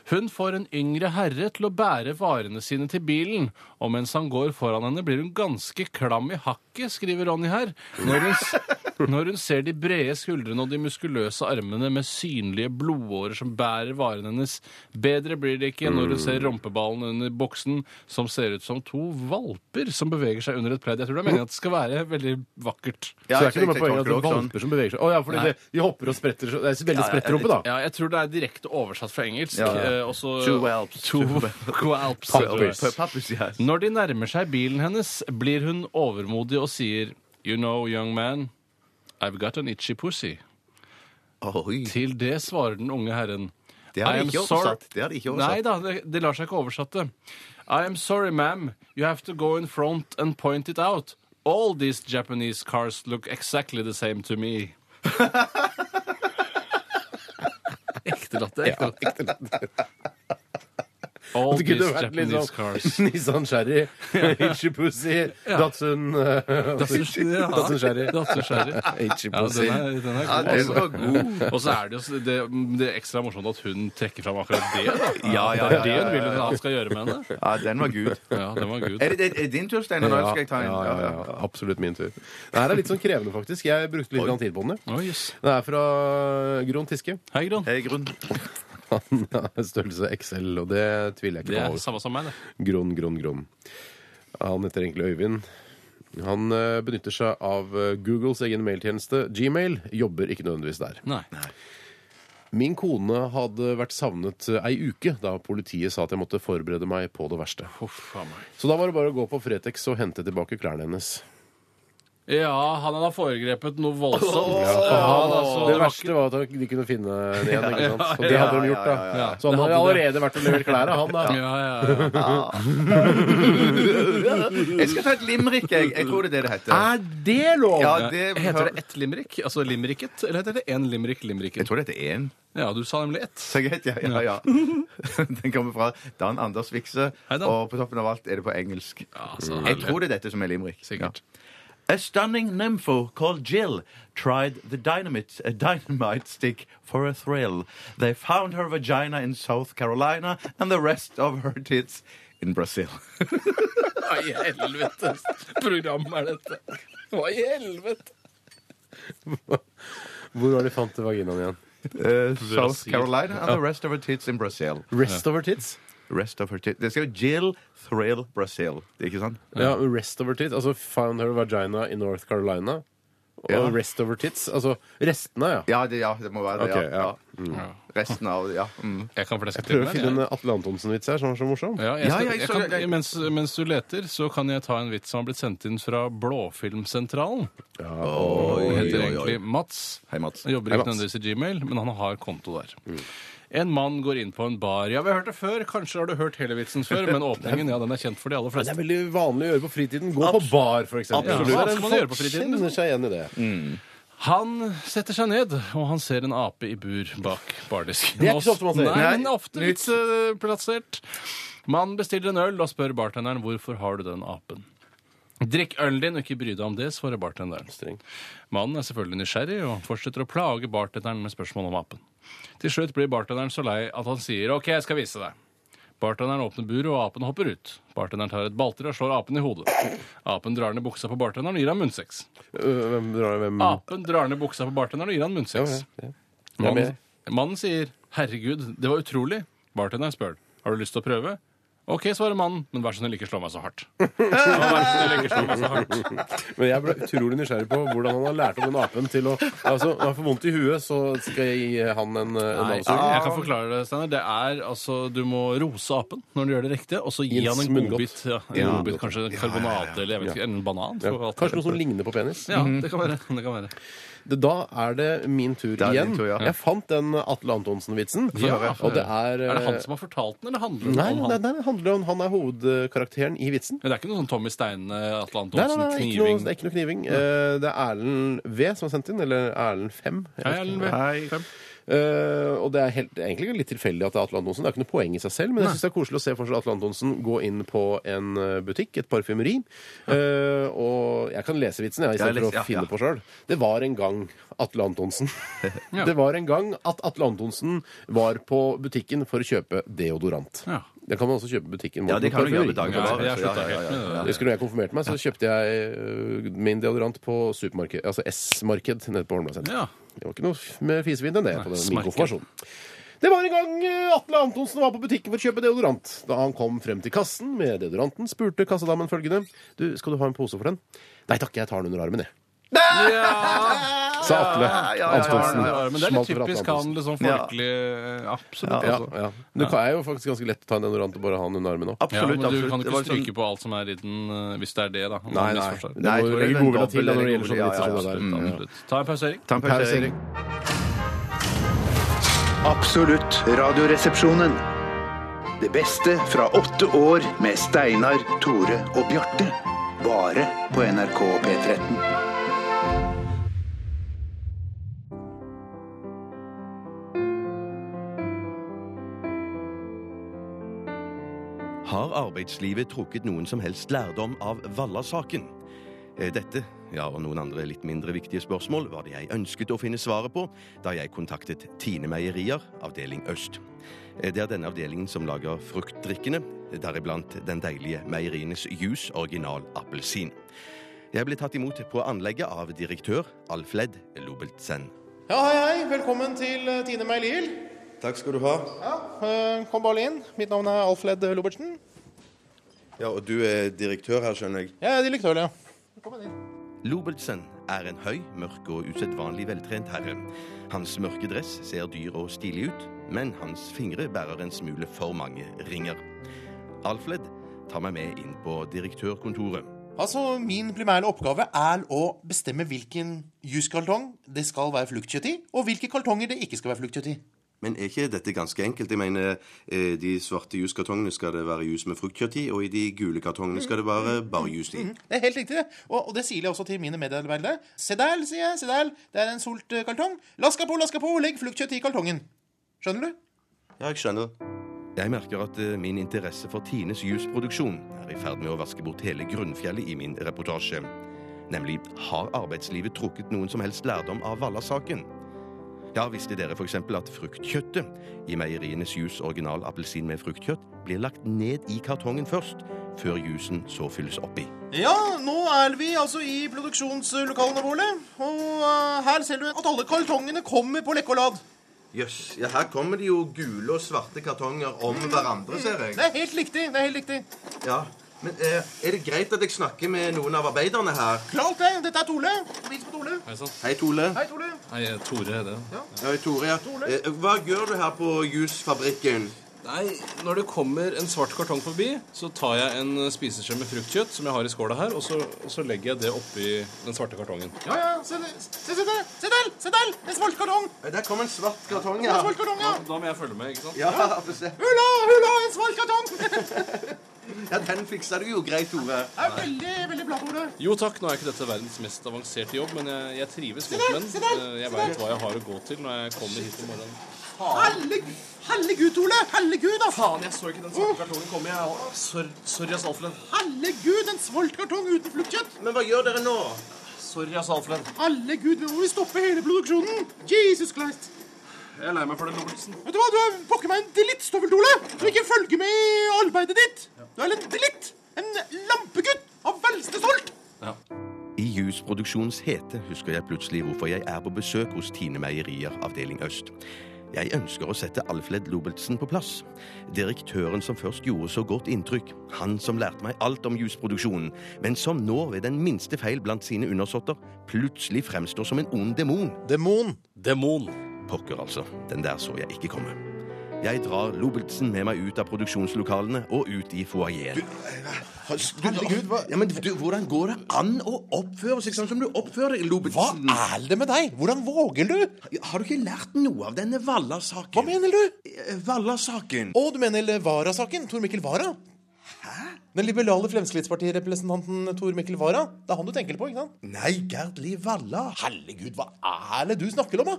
Hun får en yngre herre til å bære varene sine til bilen, og mens han går foran henne, blir hun ganske klam i hakket, skriver Ronny her, når hun, s- når hun ser de brede skuldrene og de muskuløse armene med synlige blodårer som bærer varene hennes. Bedre blir det ikke når hun ser rumpeballen under boksen, som ser ut som to valper som beveger seg under et pledd. Jeg tror det er meningen at det skal være veldig vakkert.
Ja,
så det er ikke noe
jeg-
med
jeg
poenget at det er
tolker det også sånn.
valper som beveger seg. Å ja, fordi det, de hopper og spretter. så- Det er veldig sprettrumpe, da.
Ja, jeg tror det er direkte oversatt fra engelsk.
Ja, ja.
eh, og så-
Two whelps.
To whelps.
Pappers.
P- Pappus, ja.
Når de nærmer seg bilen hennes, blir hun overmodig og sier You know, young man, I've got an itchy pussy.
Oi.
Til det svarer den unge herren
Det har
I
de
am
ikke
sorry-
oversatt. Det har de ikke
Nei
oversatt.
da, det, det lar seg ikke oversette. I am sorry, ma'am. You have to go in front and point it out. All these Japanese cars look exactly the same to me. ekte latter. Ekte latter. All
Det kunne
these
vært litt
Japanese cars.
sånn Nissan Sherry, Ichipussy, Datsun eh, Datsun Sherry.
Datsun Sherry. Ja, den er, den er god.
den var
altså. Og så er det jo så- det, det er ekstra morsomt at hun trekker fram akkurat det. Da.
Ja, ja, ja,
Det er det hun vil
ja, ja.
han skal gjøre med henne.
Ja, den var gud.
Ja, den var gud.
Er det, er det din tur, Steinar? Nå skal jeg ta en.
ja, ja, ja, absolutt min tur. Det her er litt sånn krevende, faktisk. Jeg brukte litt grann tid på den. jeg.
Oi, jøss.
Den er fra Gron Tiske.
Hei, Gron.
Hei, Grunn.
Han har størrelse XL, og det tviler jeg
Det
ikke
er
på.
samme som meg, det.
Gron, Gron, Gron. Han heter egentlig Øyvind. Han eh, benytter seg av eh, Googles egen mailtjeneste, Gmail. Jobber ikke nødvendigvis der.
Nei.
Min kone hadde vært savnet eh, ei uke da politiet sa at jeg måtte forberede meg på det verste.
Huff a meg.
Så da var det bare å gå på Fretex og hente tilbake klærne hennes.
Ja, han hadde foregrepet noe voldsomt.
Ja,
han, altså,
det
det var
verste var at de kunne finne henne igjen. ikke sant? Og
ja,
det hadde de gjort,
ja,
da.
ja.
Så han hadde
Det hadde
allerede vært og levert klærne, han da.
Ja, ja, ja.
Jeg skal ta et limerick, jeg. Jeg tror det er det det heter.
Er det lov?
Ja, det-
Eh, Heter det ett limerick? Altså limericket? Eller heter det én limerick
Jeg
limericket?
tror det heter én.
Ja, du sa nemlig ett.
Så greit, ja, ja, ja. Den kommer fra Dan Anders Vikse,
Hei, Dan.
og på toppen av alt er det på engelsk.
så
Jeg tror det er dette som er limerick.
Sikkert.
A stunning nympho called Jill tried the dynamite, a dynamite stick for a thrill. They found her vagina in South Carolina and the rest of her tits in Brazil.
Hva i helvete program er dette? Hva i helvete?
Hvor var det de fant vaginaen igjen?
Uh, South Carolina and the rest of her tits in Brazil.
Rest over tits?
Rest of her tits. Det skal jo Jill Thrill Brazil, ikke sant?
Ja, rest over tits. Altså found her vagina i North Carolina. Og rest over tits? Altså restene, ja.
Ja, det, ja, det må være det.
Ok,
ja.
ja.
Ja. Resten av Ja. Mm.
Jeg kan fleske
Jeg prøver å
til
finne en
meg, jeg.
Atle Antonsen-vits her som var så morsom.
Ja, jeg
Ja,
skal,
jeg
jeg
så-
kan,
jeg-
mens, mens du leter, så kan jeg ta en vits som har blitt sendt inn fra Blåfilmsentralen. Han heter egentlig Mats.
Hei, Mats.
Han jobber
Hei,
ikke
Mats.
nødvendigvis i Gmail, men han har konto der. En mann går inn på en bar. Ja, vi har hørt det før. Kanskje har du hørt hele vitsen før, men åpningen ja, den er kjent for de aller
Det
fleste.
er veldig vanlig å gjøre på fritiden. Gå på bar, f.eks.
Absolutt. Hva skal man gjøre på fritiden? liksom?
Kjenner seg igjen i det.
Han setter seg ned, og han ser en ape i bur bak bardisken.
Det er ikke så ofte man ser.
Nei, men ofte litt eh, plassert. Man bestiller en øl og spør bartenderen hvorfor har du den apen. Drikk ølen din og ikke bry deg om det, svarer bartenderen.
Streng.
Mannen er selvfølgelig nysgjerrig og fortsetter å plage bartenderen med spørsmål om apen. Til slutt blir bartenderen så lei at han sier OK, jeg skal vise deg. Bartenderen åpner buret, og apen hopper ut. Bartenderen tar et balltre og slår apen i hodet. Apen drar ned buksa på bartenderen og gir ham munnsex.
Øh, Hvem drar hvem?
Apen drar ned buksa på bartenderen og gir han munnsex.
Ja, ja. Jeg er med.
Mannen, mannen sier 'herregud, det var utrolig'. Bartenderen spør 'har du lyst til å prøve'? OK, svarer mannen, men vær så snill, ikke slå meg så hardt. Vær så snill, ikke slå meg så hardt.
Men jeg ble utrolig nysgjerrig på hvordan han har lært opp den apen til å Altså, når han får vondt i huet, så skal jeg gi han en, øh, en
Nei, ah,
avsug.
jeg kan forklare det, Steinar. Det er altså Du må rose apen når du gjør det riktige, og så gi
Gi en
han en
smunngodt.
godbit. Ja, en godbit, kanskje en karbonade eller jeg vet ikke, en banan.
Ja.
For alt
Kanskje
det.
noe sånn- Mm. som ligner på penis.
ja, det kan være. Det kan være.
Det, da er det min tur
er din
igjen.
tur, ja.
Jeg fant den Atle Antonsen-vitsen.
Ja.
Og det er eh, øh,
Er det han som har fortalt den, eller handler det
Nei,
om han?
nei, nei, det handler om han er hovedkarakteren i vitsen.
Men Det er ikke noe sånn Tommy Steine, Atle
Nei, nei,
Altså,
Antonsen,
nei, ikke noe,
kniving
det er ikke noe kniving. Eh, Det er Erlend V som har sendt inn, eller Erlend 5.
Hei, Erlend Bøe. Fem.
Eh, og det er helt, egentlig litt tilfeldig at det er Atle Antonsen. Det er ikke noe poeng i seg selv, men jeg syns det er koselig å se for seg Atle Antonsen gå inn på en eh, butikk, et parfymeri, eh, og jeg kan lese vitsen, jeg, istedenfor
les- ja,
å finne
ja.
på sjøl. Det var en gang Atle Antonsen.
Ja.
Det var en gang at Atle Antonsen var på butikken for å kjøpe deodorant.
Ja.
Det kan man også kjøpe i butikken.
Ja, det kan du
Parfymeri.
gjøre med
Ja,
dagligvarer.
jeg
Ja,
slutta
ja,
helt
ja,
med det.
Jeg husker når jeg konfirmerte meg, så kjøpte jeg øh, min deodorant på supermarked, altså S-marked nede på Holmlia
Ja.
Det var ikke noe f- med fisevin, det, på den, min
smarked.
konfirmasjon. Det var en gang øh, Atle Antonsen var på butikken for å kjøpe deodorant. Da han kom frem til kassen med deodoranten, spurte kassedamen følgende Du, skal du ha en pose for den? Nei takk, jeg tar den under armen, jeg. Sa Atle Antonsen.
Men det er
Smalt
litt
for Atle Antonsen.
typisk han, litt sånn folkelig eh, Absolutt.
Ja,
altså.
ja. Men Det er jo faktisk ganske lett å ta en deodorant og bare ha den under armen òg.
Ja,
Absolutt.
men du
absolutt.
kan
Det
ikke
var sånn-
stryke på alt som er i den, eh, hvis det er det, da. Om
Nei,
man
nei.
misforstår.
Det
Nei, jeg
må
tror det
legge
er en
godvilja til
dobbel
da, når
eller
det gjelder
god-
sånne
ja,
vitser
ja,
som det der. Ja.
Mm.
Absolutt. Ta en pausering.
Ta en pause, Erik.
Absolutt radioresepsjonen. Det beste fra åtte år med Steinar, Tore og Bjarte. Bare på NRK P13.
Har arbeidslivet trukket noen som helst lærdom av Valla-saken? Eh, Dette, ja og noen andre litt mindre viktige spørsmål, var det jeg ønsket å finne svaret på da jeg kontaktet Tine Meierier, avdeling Øst. Eh, Det er denne avdelingen som lager fruktdrikkene, deriblant den deilige Meierienes Juice original appelsin. Jeg ble tatt imot på anlegget av direktør Alfred Lobeltsen.
Ja, hei, hei. Velkommen til eh, Tine Meilier.
Takk skal du ha.
Ja, eh, kom bare inn. Mitt navn er Alfred Lobertsen.
Ja, og du er direktør her, skjønner jeg.
Jeg er direktør, ja. Velkommen inn.
Lobelsen er en høy, mørk og usedvanlig veltrent herre. Hans mørke dress ser dyr og stilig ut, men hans fingre bærer en smule for mange ringer. Alfred tar meg med inn på direktørkontoret.
Altså, Min primære oppgave er å bestemme hvilken juskaltong det skal være fluktkjøtt i, og hvilke kaltonger det ikke skal være fluktkjøtt i.
Men er ikke dette ganske enkelt? Jeg mener, eh, de svarte juskartongene skal det være jus med fruktkjøtt i, og i de gule kartongene skal det være bare jus i.
Det er helt riktig, det. Og, og det sier jeg også til mine medarbeidere. Se der, sier jeg. Se der. Det er en solt eh, kartong. Laska på, laska på. Legg fluktkjøtt i kaltongen. Skjønner du?
Ja, jeg skjønner. Jeg merker at eh, min interesse for Tines jusproduksjon er i ferd med å vaske bort hele grunnfjellet i min reportasje. Nemlig har arbeidslivet trukket noen som helst lærdom av Valla-saken? Ja, visste dere f.eks. at fruktkjøttet i meierienes jus original appelsin med fruktkjøtt blir lagt ned i kartongen først, før jusen så fylles oppi?
Ja, nå er vi altså i produksjonslokalene våre. Og eh, her ser du at alle kaltongene kommer på lekkolad.
Jøss, ja, her kommer det jo gule og svarte kartonger om hverandre, ser
Det er helt riktig. det er helt riktig.
Ja,
Men eh, Er det greit at jeg snakker med noen av arbeiderne her?
Klart det! Dette er Tole. Vis på Tole.
Hei, Tole.
Hei, Tole.
Hei, Tore er det. Ja, hei, Tore, ja. Eh, hva gjør du her på jusfabrikken?
Nei, Når det kommer en svart kartong forbi, så tar jeg en eh, spiseskje med fruktkjøtt som jeg har i skåla her, og så, og så legger jeg det oppi den svarte kartongen.
Ja, ja. Se, det- se, se der! Se der! Se der! En svart kartong.
Der kom en svart kartong,
En svart kartong, ja.
Da, da må jeg følge med, ikke sant?
Ja, få se.
Hurra, hurra, en svart kartong.
Ja, Den fiksa du jo greit, Tore.
Jeg er veldig, veldig glad, Tore.
Jo takk, nå er ikke dette verdens mest avanserte jobb, men jeg, jeg trives godt med
se der,
den. Eh, Jeg
se
veit
der.
hva jeg har å gå til når jeg kommer hit om morgenen.
Herlig- Herregud, Tole. Herregud, ass.
Faen, jeg så ikke den svarte kartongen komme. Jeg. Sorry, sorry, ass, Alfred.
Herregud, en svart kartong uten fluktkjøtt.
Men hva gjør dere nå?
Sorry, ass, Alfred.
Herregud, nå må vi stoppe hele produksjonen. Jesus Christ.
Jeg er lei meg for det, Robertsen.
Vet du hva, du er pokker meg en delittstoffel, Tole, som ikke følger med i arbeidet ditt. Du er en delitt. En lampegutt av velste stolt.
I jusproduksjonens hete husker jeg plutselig hvorfor jeg er på besøk hos Tine Meierier, avdeling Øst. Jeg ønsker å sette Alfred Lobeltsen på plass. Direktøren som først gjorde så godt inntrykk. Han som lærte meg alt om jusproduksjonen, men som nå, ved den minste feil blant sine undersåtter, plutselig fremstår som en ond demon.
Demon.
Demon.
Pokker, altså. Den der så jeg ikke komme. Jeg drar Lobeltsen med meg ut av produksjonslokalene og ut i foajeen.
eh,
Herregud, hva? Ja, men du, hvordan går det an å oppføre seg sånn som du oppfører deg, Lobetsen?
Hva er det med deg? Hvordan våger du?
Har du ikke lært noe av denne Valla-saken?
Hva mener du?
Eh,
Valla-saken.
Å, du mener Vara-saken? Tor Mikkel Vara? Den liberale Fremskrittspartirepresentanten Tor Mikkel Vara? Det er han du tenker på, ikke sant?
Nei, Gerd Liv Valla.
Herregud, hva er det du snakker om, da?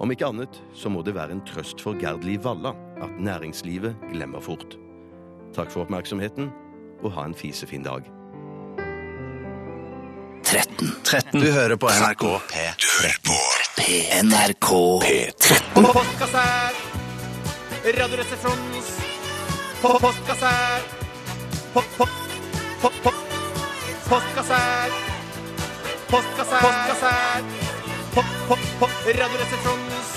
Om ikke annet så må det være en trøst for Gerdli Valla at næringslivet glemmer fort. Takk for oppmerksomheten, og ha en fisefin dag.
13. 13. Du hører på NRK P13. Du hører på NRK P13.
Postkasse her. Radioresepsjonens po- postkasse her. Po- po- po- po- Postkasse her. Postkasse her. Postkasse her. Po- po- po- Radioresepsjonens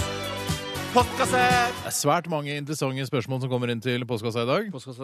postkasse her.
Det er svært mange interessante spørsmål som kommer inn til postkassa i dag.
Postkassa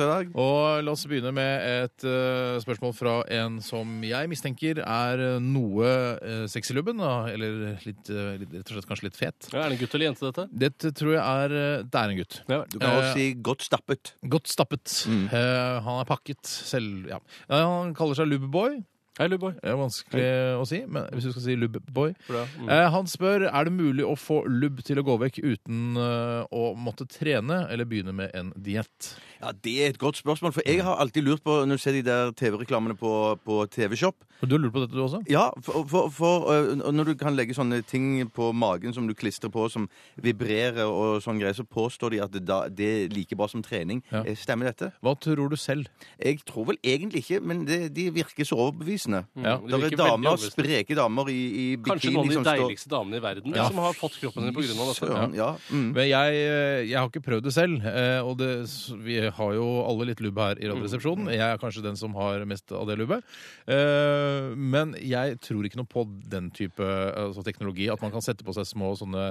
i dag.
Og la oss begynne med et eh, spørsmål fra en som jeg mistenker er eh, noe uh, sexylubben, da, eller litt, eh, litt, rett og slett kanskje litt fet.
Ja, er det en gutt eller jente, dette?
Det t- tror jeg er eh, Det er en gutt. Eh,
Ja,
Du kan
Eh,
også si godt stappet.
Godt stappet.
Mm.
Eh, han er pakket selv... Ja. Nei, Han kaller seg Lubboy.
Hei, Lubboy.
Det er vanskelig
eh,
å si, men hvis du skal si Lubboy.
Bra. Mm.
Eh, han spør er det mulig å få lubb til å gå vekk uten eh, å måtte trene eller begynne med en diett.
Ja, Det er et godt spørsmål, for jeg har alltid lurt på, når du ser de der TV-reklamene på, på TV-Shop
Og Du har lurt på dette, du også?
Ja, for, for, for øh, når du kan legge sånne ting på magen som du klistrer på, som vibrerer og sånn greier, så påstår de at det, da, det er like bra som trening.
Ja.
Eh, Stemmer dette?
Hva tror du selv?
Jeg tror vel egentlig ikke, men det, de virker så overbevisende.
Mm.
Ja, de
det er
virker veldig
damer,
overbevisende.
spreke damer i, i
Kanskje
bikini
noen av de
som står
deiligste damene i verden
Ja.
som har fått kroppen sin på grunn av dette.
Søren, ja. Mm.
Men jeg, Eh, jeg har ikke prøvd det selv. eh, Og det, s- vi har jo alle litt lubb her i Radioresepsjonen. Jeg er kanskje den som har mest av det lubbet. Eh, Men jeg tror ikke noe på den type altså, teknologi. At man kan sette på seg små sånne,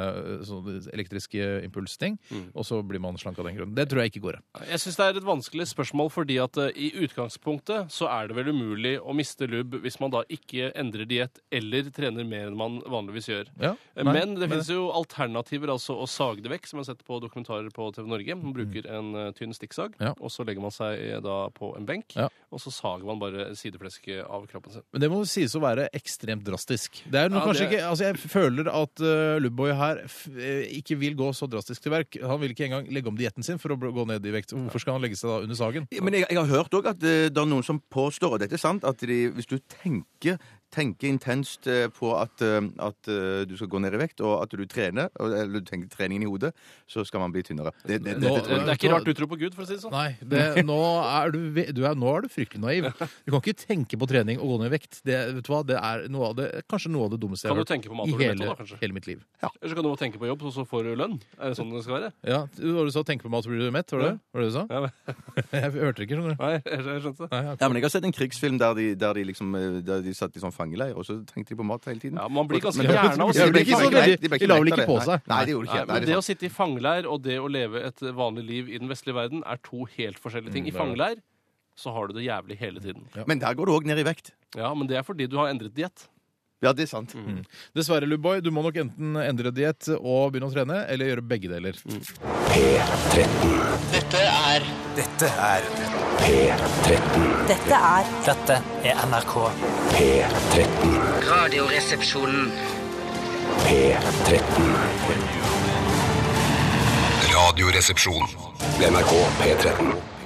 sånne elektriske impulsting, og så blir man slank av den grunn. Det tror jeg ikke går.
Jeg syns det er et vanskelig spørsmål, fordi at eh, i utgangspunktet så er det vel umulig å miste lubb hvis man da ikke endrer diett eller trener mer enn man vanligvis gjør.
Ja,
Eh,
nei,
Men det
men-
finnes jo alternativer, altså å sage det vekk, som jeg har sett på dokumentarer på TV Norge. Man bruker en eh, tynn stikksag,
Mm. Ja.
og så legger man seg eh, da på en benk,
Ja.
og så sager man bare sideflesket av kroppen sin.
Men det må sies å være ekstremt drastisk. Det er noe
Ja,
kanskje
det-
ikke, altså Jeg føler at uh, Lubboy her f eh, ikke vil gå så drastisk til verk. Han vil ikke engang legge om dietten sin for å bl- gå ned i vekt. Hvorfor skal han legge seg da under sagen?
Ja, Men jeg, jeg har hørt òg at eh, det er noen som påstår, og dette er sant, at de, hvis du tenker, tenker intenst eh, på at, eh, at eh, du skal gå ned i vekt, og at du trener, og, eller du tenker treningen i hodet, så skal man bli tynnere. Det, det, det,
Nå-
det,
Det er ikke rart du tror på Gud, for å si det sånn.
Nei, det, nå, er du, ve- du er, nå er du fryktelig naiv. Du kan ikke tenke på trening og gå ned i vekt. Det, vet du hva, det er noe av det, kanskje noe av det dummeste jeg
Kan du
har hørt
tenke på mat
i
og
hele,
toalett også, kanskje?
hele mitt liv.
Eller så kan du bare tenke på jobb, og så får du lønn. Er det sånn det skal være?
Ja, du, var du sa 'tenke på mat, så blir du mett'? Var det det Var det du sa?
Ja, men-
Jeg hørte det ikke, skjønner du.
Nei, jeg jeg skjønte det.
Nei, jeg-
eh, Ja, men Jeg har sett en krigsfilm der de, der de, liksom, eh, der de satt i sånn fangeleir, og så tenkte de på mat hele tiden.
Ja, man blir ganske
Men-
gæren av å
Ja, de
sitte
ble
i
ikke
sånn
mett-
veldig-
ble
de la vel
mett av
ikke
det.
på seg?
Nei, nei, det gjorde
Nei,
ikke Nei,
men
det.
det
er sånn.
å sitte i
Mm,
fangeleir og det å leve et vanlig liv i den vestlige verden er to helt forskjellige ting. I fangeleir så har du det jævlig hele tiden.
Men der går du òg ned i vekt.
Ja, men det er fordi du har endret diett.
Ja, det er sant.
Mm.
Dessverre, Lubboy, du må nok enten endre diett og begynne å trene, eller gjøre begge deler.
Dette er Dette er
Dette er
Dette er NRK.
Radioresepsjonen.
Radioresepsjon. NRK P13.